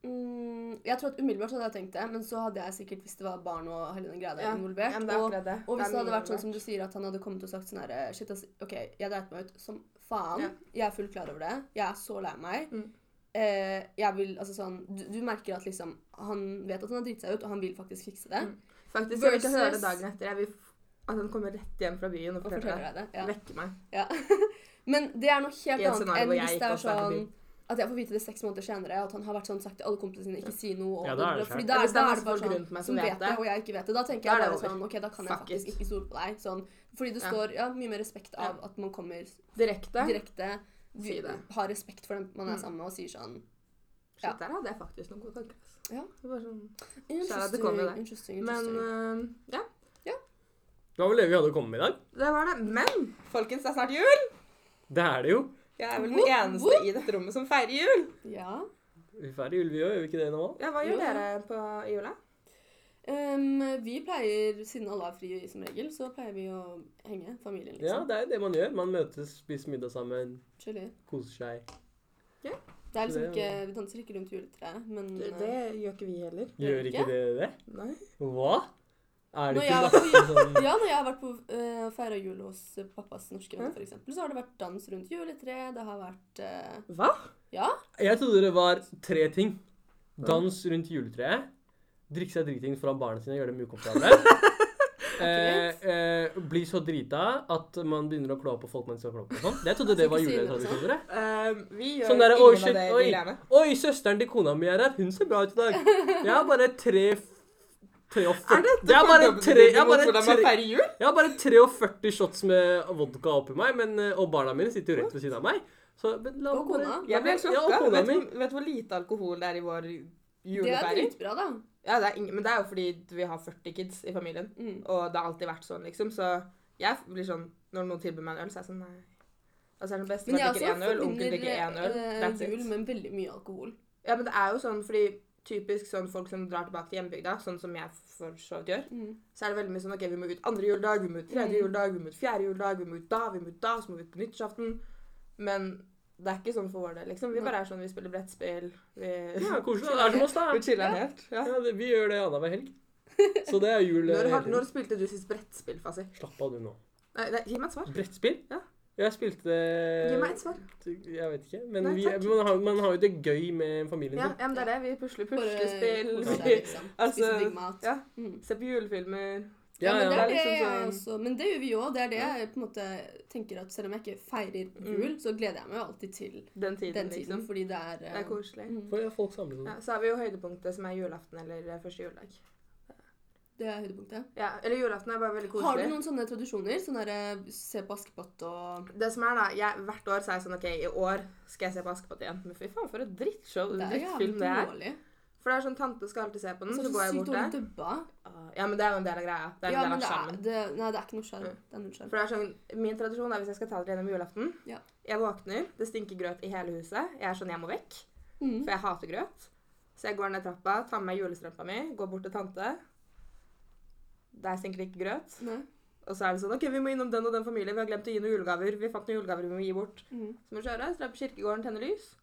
C: Mm, jeg tror at umiddelbart så hadde jeg tenkt det, men så hadde jeg sikkert, hvis det var barn og hele den greia der
B: Ja,
C: involvert,
B: Ja, men det er
C: og
B: akkurat det.
C: Og hvis det
B: er
C: hadde
B: mye
C: vært sånn
B: involvert.
C: som du sier, at han hadde kommet og sagt sånn herre Shit, ass, OK, jeg dreit meg ut som faen.
B: Ja.
C: Jeg er fullt klar over det. Jeg er så lei meg.
B: Mm.
C: Eh, jeg vil Altså sånn du, du merker at liksom Han vet at han har driti seg ut, og han vil faktisk fikse det.
B: Mm. Faktisk, jeg vil ikke
C: versus-
B: høre det dagen etter. Jeg vil f- at han kommer rett hjem fra byen og
C: Og
B: forteller det.
C: forteller deg det. Ja.
B: Vekker meg.
C: Men det er noe
B: I
C: helt
B: et
C: annet
B: scenario
C: enn
B: hvor jeg
C: hvis
B: ikke
C: det er
B: også er på
C: sånn
B: byen.
C: at jeg får vite det seks måneder senere, at han har vært sånn sagt til alle kompisene sine 'ikke si noe', og
D: Ja, da er det
C: fordi
D: skjært.
C: da
B: Hvis
C: er,
B: det er
C: da er
B: masse
C: det bare
B: folk
C: sånn
B: rundt meg
C: som vet det, og jeg ikke vet det. Da tenker
B: Da er
C: jeg
B: det
C: bare
B: over.
C: sånn OK, da kan jeg
B: Fuck it.
C: faktisk ikke stole på deg. Sånn. Fordi det
B: Ja.
C: står ja, mye mer respekt av
B: Ja.
C: at man kommer
B: Direkte.
C: direkte vi-
B: Si det.
C: har respekt for dem man er
B: Mm.
C: sammen med, og sier sånn
B: Shit,
C: Ja.
B: der hadde jeg faktisk noen gode tanker. ass.
C: Ja.
B: Det var sånn. Kjære, det
C: Interesting,
B: kommer der.
C: interesting,
B: Men
C: interesting.
B: øh, ja,
D: Det var vel det vi hadde å komme med i dag.
B: det var det. Men folkens, det er snart jul!
D: Det er det jo.
B: Jeg er vel
C: Woop,
B: den eneste
C: woop.
B: i dette rommet som feirer jul.
C: ja.
D: Vi feirer jul, vi òg, gjør vi ikke det nå?
B: Ja, Hva gjør
C: Jo, ja.
B: dere på i jula?
C: Ehm, vi pleier, siden alle har fri som regel, så pleier vi å henge familien,
D: Ja,
C: liksom.
D: det er jo det man gjør. Man møtes, spiser middag sammen,
C: Chilly.
D: koser seg.
C: Det er liksom
D: Det er
C: ikke, vi danser ikke rundt juletreet, men
B: Det, det gjør ikke vi heller.
D: Gjør ikke det det?
B: Mm. Nei.
D: Hva? Er det
C: Når
D: ikke
C: jeg var
D: masse
C: eh,
D: sånn
C: ja, når jeg har vært på uh, feira jul hos eh, pappas norske venner,
B: Hæ?
C: f.eks., så har det vært dans rundt juletreet, det har vært eh,
B: Hva?
D: Jeg trodde det var tre ting. Dans rundt juletreet. Drikke seg dritings foran barna sine og gjøre dem ukomfortable. Eh, eh, bli så drita at man begynner å klå på folk mens man klår på sånn. Jeg trodde det var
C: Skal ikke si noe sånt.
D: juletradisjoner. jeg.
B: Ehm, vi gjør
D: Sånn der,
B: ingen
D: oi,
B: av
D: shit,
B: det
D: oi.
B: vi lærer.
D: Oi, søsteren til kona mi er her. Hun ser bra ut i dag. Jeg har bare tre tre og
B: Er
D: førti
B: dette
D: Jeg har bare
B: fordommene
D: tre, jeg
B: dine
D: har
B: mot
D: bare
B: hvordan man
D: tre
B: feirer jul?
D: Jeg har bare 43 shots med vodka oppi meg, men, eh, og barna mine sitter jo rett ved siden av meg. Så, men la
C: Og
D: meg bare-
C: kona.
B: Jeg ble helt
D: Ja, og
B: sjokka.
D: kona
B: vet,
D: mi.
B: du- vet du hvor lite alkohol det er i vår
C: Det er
B: julefeiring?
C: dritbra, da.
B: Ja, det er ingen, men det er jo fordi vi har 40 kids i familien.
C: Mm.
B: Og det har alltid vært sånn, liksom. Så jeg blir sånn Når noen tilbyr meg en øl, så er jeg sånn Nei. Og så er det beste
C: Men
B: man
C: jeg
B: drikker én
C: også
B: øl, onkel drikker én øl. That's
C: forbinder eh,
B: it.
C: jul med veldig mye alkohol.
B: Ja, men det er jo sånn fordi typisk sånn folk som drar tilbake til hjembygda, sånn som jeg for så vidt gjør,
C: Mm.
B: så er det veldig mye sånn OK, vi må ut andre juledag, vi må ut tredje
C: Mm.
B: juledag, vi må ut fjerde juledag, vi må ut da, vi må ut da, så må vi ut på nyttårsaften. Men det er ikke sånn for vår del, liksom. Vi
C: Nei.
B: bare er sånn, vi spiller brettspill, vi
D: Ja, koselig. Det er som oss, da.
B: Vi chiller'n helt. Ja.
D: Ja, det, vi gjør det annenhver helg. Så det er jul.
B: Når,
D: hele
B: har,
D: tiden.
B: når spilte du sist brettspill, Fasi?
D: Slapp av, du nå.
B: Nei, nei, gi meg et svar.
D: Brettspill?
B: Ja.
D: Jeg spilte
B: Gi meg et svar.
D: Jeg vet ikke. Men
B: Nei,
D: vi,
B: takk.
D: man, har, man har jo det gøy med familien
B: Ja,
D: sin.
B: ja, men det er det. Vi pusler puslespill.
C: Bare kose seg,
B: Vi
C: liksom. Spise
B: altså,
C: digg mat.
B: ja.
C: Mm.
B: ser på julefilmer.
C: Ja,
D: Ja,
C: men det
D: ja.
C: er det
B: liksom
C: jeg
B: sånn-
C: også Men det gjør vi jo òg. Det er det jeg på en måte tenker at selv om jeg ikke feirer jul, så gleder jeg meg jo alltid til
B: Den Mm. tiden,
C: den
B: liksom.
C: tiden, fordi det er
B: Det er
C: eh,
B: koselig.
C: mm,
D: For folk samles
B: Ja,
D: sånn.
B: så har vi jo høydepunktet, som er julaften eller eh, første juledag.
C: eh, Det er høydepunktet.
B: Ja, eller julaften er bare veldig
C: Har du
B: koselig.
C: noen sånne tradisjoner? Sånn derre se på Askepott og
B: Det som er da, jeg, Hvert år så er jeg sånn OK, i år skal jeg se på Askepott igjen. Men fy faen, for et drittshow.
C: Det er jævlig
B: Drittfilm det er.
C: dårlig.
B: For det er sånn tante skal alltid se på den, så,
C: Så er det
B: går
C: så
B: jeg
C: sykt
B: bort
C: dårlig
B: der. Ah,
C: dubba.
B: Ja, men det er jo en del av greia. Det er
C: Ja,
B: en del
C: men
B: av
C: det er,
B: sjarmen.
C: det, nei, det er ikke noe sjarm.
B: Mm.
C: Det er null sjarm.
B: For det er sånn, Min tradisjon er hvis jeg skal ta dere gjennom julaften
C: Ja.
B: Jeg våkner, det stinker grøt i hele huset. Jeg er sånn, jeg må vekk.
C: Mm.
B: For jeg hater grøt. Så jeg går ned trappa, tar med meg julestrømpa mi, går bort til tante. Der stinker det ikke grøt.
C: Nei.
B: Og så er det sånn OK, vi må innom den og den familien. Vi har glemt å gi noen julegaver. Vi fant noen julegaver vi må gi bort.
C: Mm.
B: Så må vi kjøre. Så drar jeg på kirkegården, tenner lys.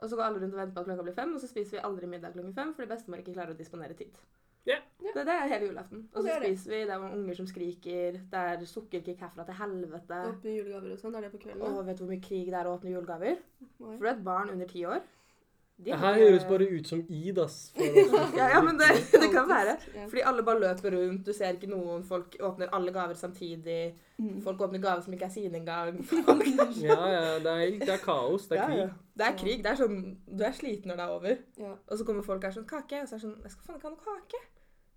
B: Og så går alle rundt og venter på at klokka blir fem, og så spiser vi aldri middag klokken fem fordi bestemor ikke klarer å disponere tid.
D: Ja.
B: Det, det er hele julaften. Og
C: Det
B: så
C: er det.
B: spiser vi, det er unger som skriker, det er sukkerkick herfra til helvete.
C: Åpne julegaver og sånn. Det er det på kvelden.
B: Og vet du hvor mye krig det er å åpne julegaver?
C: Oi.
B: For du er et barn under ti år. De
D: Det
B: har
D: her
B: ikke-
D: høres bare ut som id, ass. for oss som
B: ja, ja, men det, det kan være.
C: Kaotisk, ja.
B: Fordi alle bare løper rundt, du ser ikke noen, folk åpner alle gaver samtidig.
C: Mm.
B: Folk åpner gaver som ikke er sine engang. Folk-
D: Ja, ja, det er, det er kaos. Det er
B: Ja,
D: krig.
B: ja. Det er krig. Det er sånn, du er sliten når det er over.
C: Ja.
B: Og så kommer folk og er sånn Kake. Og så er det sånn Jeg skal faen ikke ha noe kake.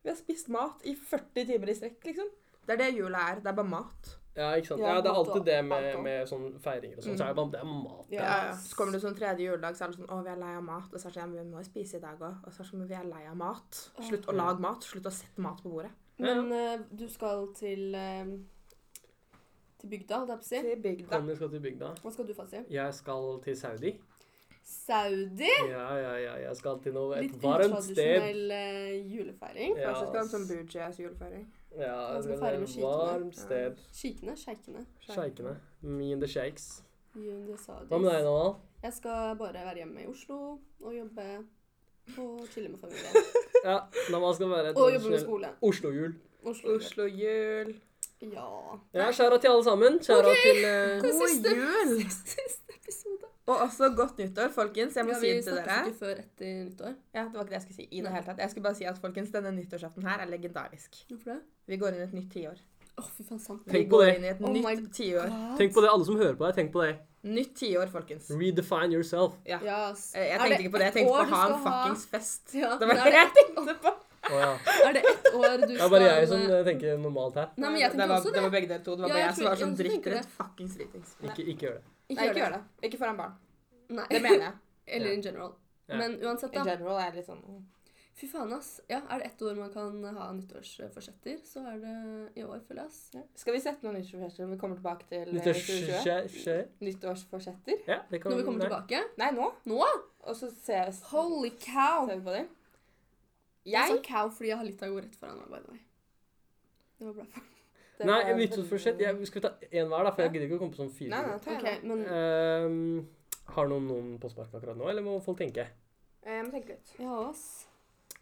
B: Vi har spist mat i 40 timer i strekk, liksom. Det er det jula er. Det er bare mat.
D: Ja, ikke sant.
C: Ja,
D: Ja, det er
C: mat og
D: alltid det med,
C: alkohol.
D: med sånn feiringer og sånn. Så er det bare det er mat.
C: Ja, ja.
B: Så kommer det sånn tredje juledag, så er det sånn Å, vi er lei av mat. Og så er det sånn Ja, men vi må jo spise i dag òg. Og så er det sånn Men vi er lei av mat. Slutt å lage mat. Slutt å sette mat på bordet.
C: Men eh, du skal til eh, til bygda, holdt jeg på å si.
B: Til bygda.
D: Conny skal til bygda.
C: Hva skal du, Fasi?
D: Jeg skal til Saudi.
C: Saudi?
D: Ja, ja, ja. Jeg skal til noe, et
C: Litt
D: varmt sted.
C: utradisjonell eh, julefeiring.
D: Ja,
B: Kanskje skal ha en sånn Bujis julefeiring.
D: ja,
C: Man
D: jeg
C: skal
D: skal
C: feire
D: til
C: med
D: et
C: skikene.
D: varmt sted.
C: Kikene, sjeikene.
D: Sjeikene. Me and the shakes.
C: You and the Saudis.
D: Hva med deg, Nanna?
C: Jeg skal bare være hjemme i Oslo og jobbe og chille med familien.
D: Ja, Nanna skal være
C: Og jobbe med skole.
D: Oslo-jul.
C: Oslo.
B: Oslo jul.
C: Ja.
D: Ja, skjæra til alle sammen. Skjæra til eh,
B: God
C: Siste-
B: jul!
C: Siste episode.
B: Og også godt nyttår, folkens. Jeg må
C: Ja,
B: si
C: vi
B: det til
C: snakkes
B: dere.
C: ikke før etter nyttår.
B: Ja, det var ikke det jeg skulle si i det
C: Nei.
B: hele tatt. Jeg skulle bare si at folkens, denne nyttårsaften her er legendarisk.
C: Hvorfor det?
B: Vi går inn i et nytt tiår.
C: Å, fy faen, sant.
B: Vi
D: Tenk på
B: går
D: det.
B: inn i et
C: Oh my
B: nytt tiår.
D: Tenk på det, alle som hører på deg. Tenk på det.
B: Nytt tiår, folkens.
D: Redefine yourself.
B: Ja.
C: Ja, ass.
B: Eh, Jeg
C: Er
B: tenkte ikke på det. Jeg tenkte på
C: ett
B: å ha
C: år du
B: en
C: skal
B: fuckings fest.
C: Ja,
B: Det
C: men
B: var
C: er
B: det jeg tenkte på.
D: Å ja.
C: Er det ett år du skal
D: Det er bare jeg som eh, tenker normalt her.
C: Nei, men jeg
B: det
C: tenker
B: var,
C: også
B: det
C: det.
B: var begge dere to. Det var
C: Ja,
B: bare
C: jeg
B: jeg som
C: tror-
B: var sånn
C: jeg også tenker
B: dritredd
C: det.
B: fuckings dritings. Nei,
D: Ikke, ikke gjør det.
B: ikke gjør det. Ikke foran barn.
C: Nei.
B: Det mener jeg.
C: Eller in general.
D: Ja.
C: Men uansett,
B: I
C: da.
B: general er jeg litt sånn mm.
C: Fy faen, ass. Ja, er det ett år man kan ha nyttårsforsetter, så er det i år, føler jeg, ass. Ja.
B: Skal vi sette noen nyttårsforsetter når vi kommer tilbake til eh, 2020?
D: Nyttårsskje...
B: Nyttårsforsetter?
D: Ja, det kan
C: Når vi kommer
D: nei.
C: tilbake.
B: Nei, nå.
C: Nå?
B: Og så ses ser
C: Holy cow!
B: vi på dem.
C: Jeg
B: Jeg
C: sa cow fordi jeg har litt av rett foran meg, by the way. Det var bra.
B: Det
D: Nei,
B: var
D: nyttårsforsett.
B: veldig-
D: Jeg, skal vi ta én hver, da? For
B: Ja.
D: jeg gidder ikke å komme på sånn fire.
B: Nei, nei, ta
C: Ok,
B: igjen.
C: men
D: Ehm, har noen noen på sparket akkurat nå, eller må folk tenke?
B: Eh, Jeg må tenke litt.
C: Ja, ass.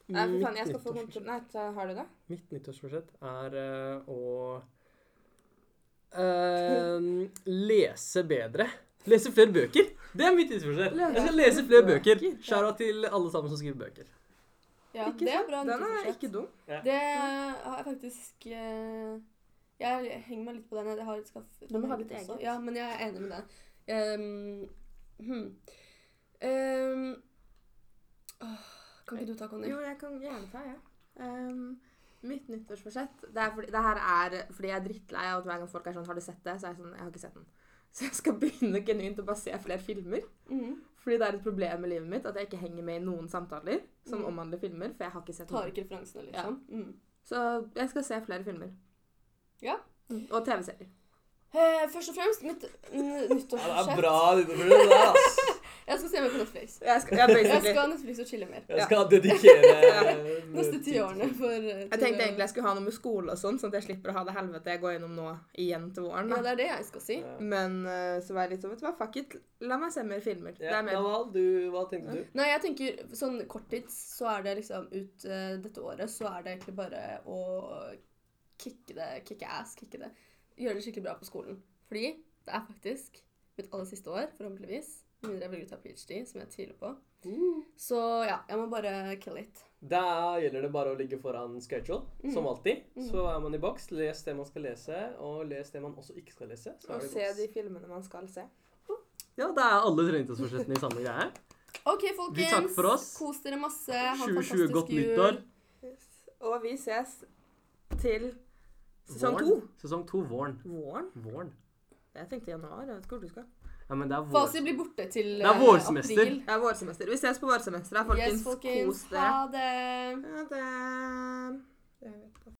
B: Nei, fy faen, jeg skal få
D: nyttårsforsett-
B: kontroll... Nei, ta- har du det?
D: Mitt nyttårsforsett er eh, å ehm, lese bedre. Lese flere bøker! Det er mitt nyttårsforsett. Jeg skal lese flere bøker. Skjæra til alle sammen som skriver bøker.
C: Ja,
B: Ikke
C: det er
B: sant?
C: bra.
B: Den er
C: nyttårsforsett.
B: ikke dum.
C: Det har jeg faktisk eh, Jeg henger meg litt på den. Jeg har, skal,
B: Du må ha ditt
C: også.
B: eget.
C: Ja, men jeg er enig med deg. Ehm, hmm. Ehm, åh, kan ikke du ta, Conny?
B: Jo, jeg kan gjerne ta, jeg. Ehm, mitt nyttårsforsett det, er fordi, det her er fordi jeg er drittlei av at hver gang folk er sånn 'Har du sett det?' så er jeg sånn 'Jeg har ikke sett den'. Så jeg skal begynne genuint å bare se flere filmer.
C: Mhm.
B: Fordi det er et problem i livet mitt at jeg ikke henger med i noen samtaler som
C: Mm.
B: omhandler filmer. For jeg har ikke sett
C: Tar
B: noen.
C: ikke referansene, liksom. Mm.
B: Så jeg skal se flere filmer.
C: Ja.
B: Mm, Og TV-serier.
C: Eh, først og fremst mitt n- nyttårsforsett.
A: nyttårsforsett, det, ass.
C: jeg skal se meg på Netflix.
B: Jeg skal, jeg,
C: Jeg
B: basically-
C: skal ha Netflix og chille mer.
B: Ja.
A: Jeg skal dedikere
D: eh,
C: Neste ti årene for eh,
B: jeg
C: til-
B: tenkte egentlig jeg skulle ha noe med skole og sånn, sånn at jeg slipper å ha det helvete jeg går gjennom nå igjen til våren. da.
C: Ja, det er det jeg skal si.
B: Men eh, så var jeg litt sånn, vet du hva, fuck it, la meg se mer filmer. det
D: Ja,
B: er mer.
D: Naval, du, hva tenkte du?
C: Nei, jeg tenker sånn korttids, så er det liksom ut eh, dette året, så er det egentlig bare å kicke det, kicke ass, kicke det. Gjøre det skikkelig bra på skolen. Fordi det er faktisk mitt aller siste år, forhåpentligvis. Med mindre jeg velger å ta ph.d., som jeg tviler på.
B: Mm.
C: Så ja, jeg må bare kill it.
D: Da gjelder det bare å ligge foran schedule,
B: Mm.
D: som alltid. Så er man i boks. Les det man skal lese, og les det man også ikke skal lese. Så
B: Og
D: er
B: se
D: det
B: de
D: boks.
B: filmene man skal se.
D: Ja, da er alle treningsforsettene i samme greie.
C: OK,
D: Vi
C: folkens.
D: takker for oss.
C: Kos dere masse. Ha
D: 2020,
C: en fantastisk
D: godt
C: jul.
D: nyttår.
B: Og vi ses til sesong
D: Våren.
B: to.
D: Sesong to, våren.
B: Våren?
D: Våren.
B: Jeg tenkte januar. Jeg vet ikke hvor du skal.
D: Ja, men det er vår.
C: Fasi blir borte til
D: Det er
C: eh,
D: vårsemester.
C: april.
B: Det er vårsemester. Vi ses på vårsemesteret, folkens.
C: Yes, folkens.
B: Kos
C: Ha
B: dere.
C: det.
B: Ha det. Jeg vet ikke.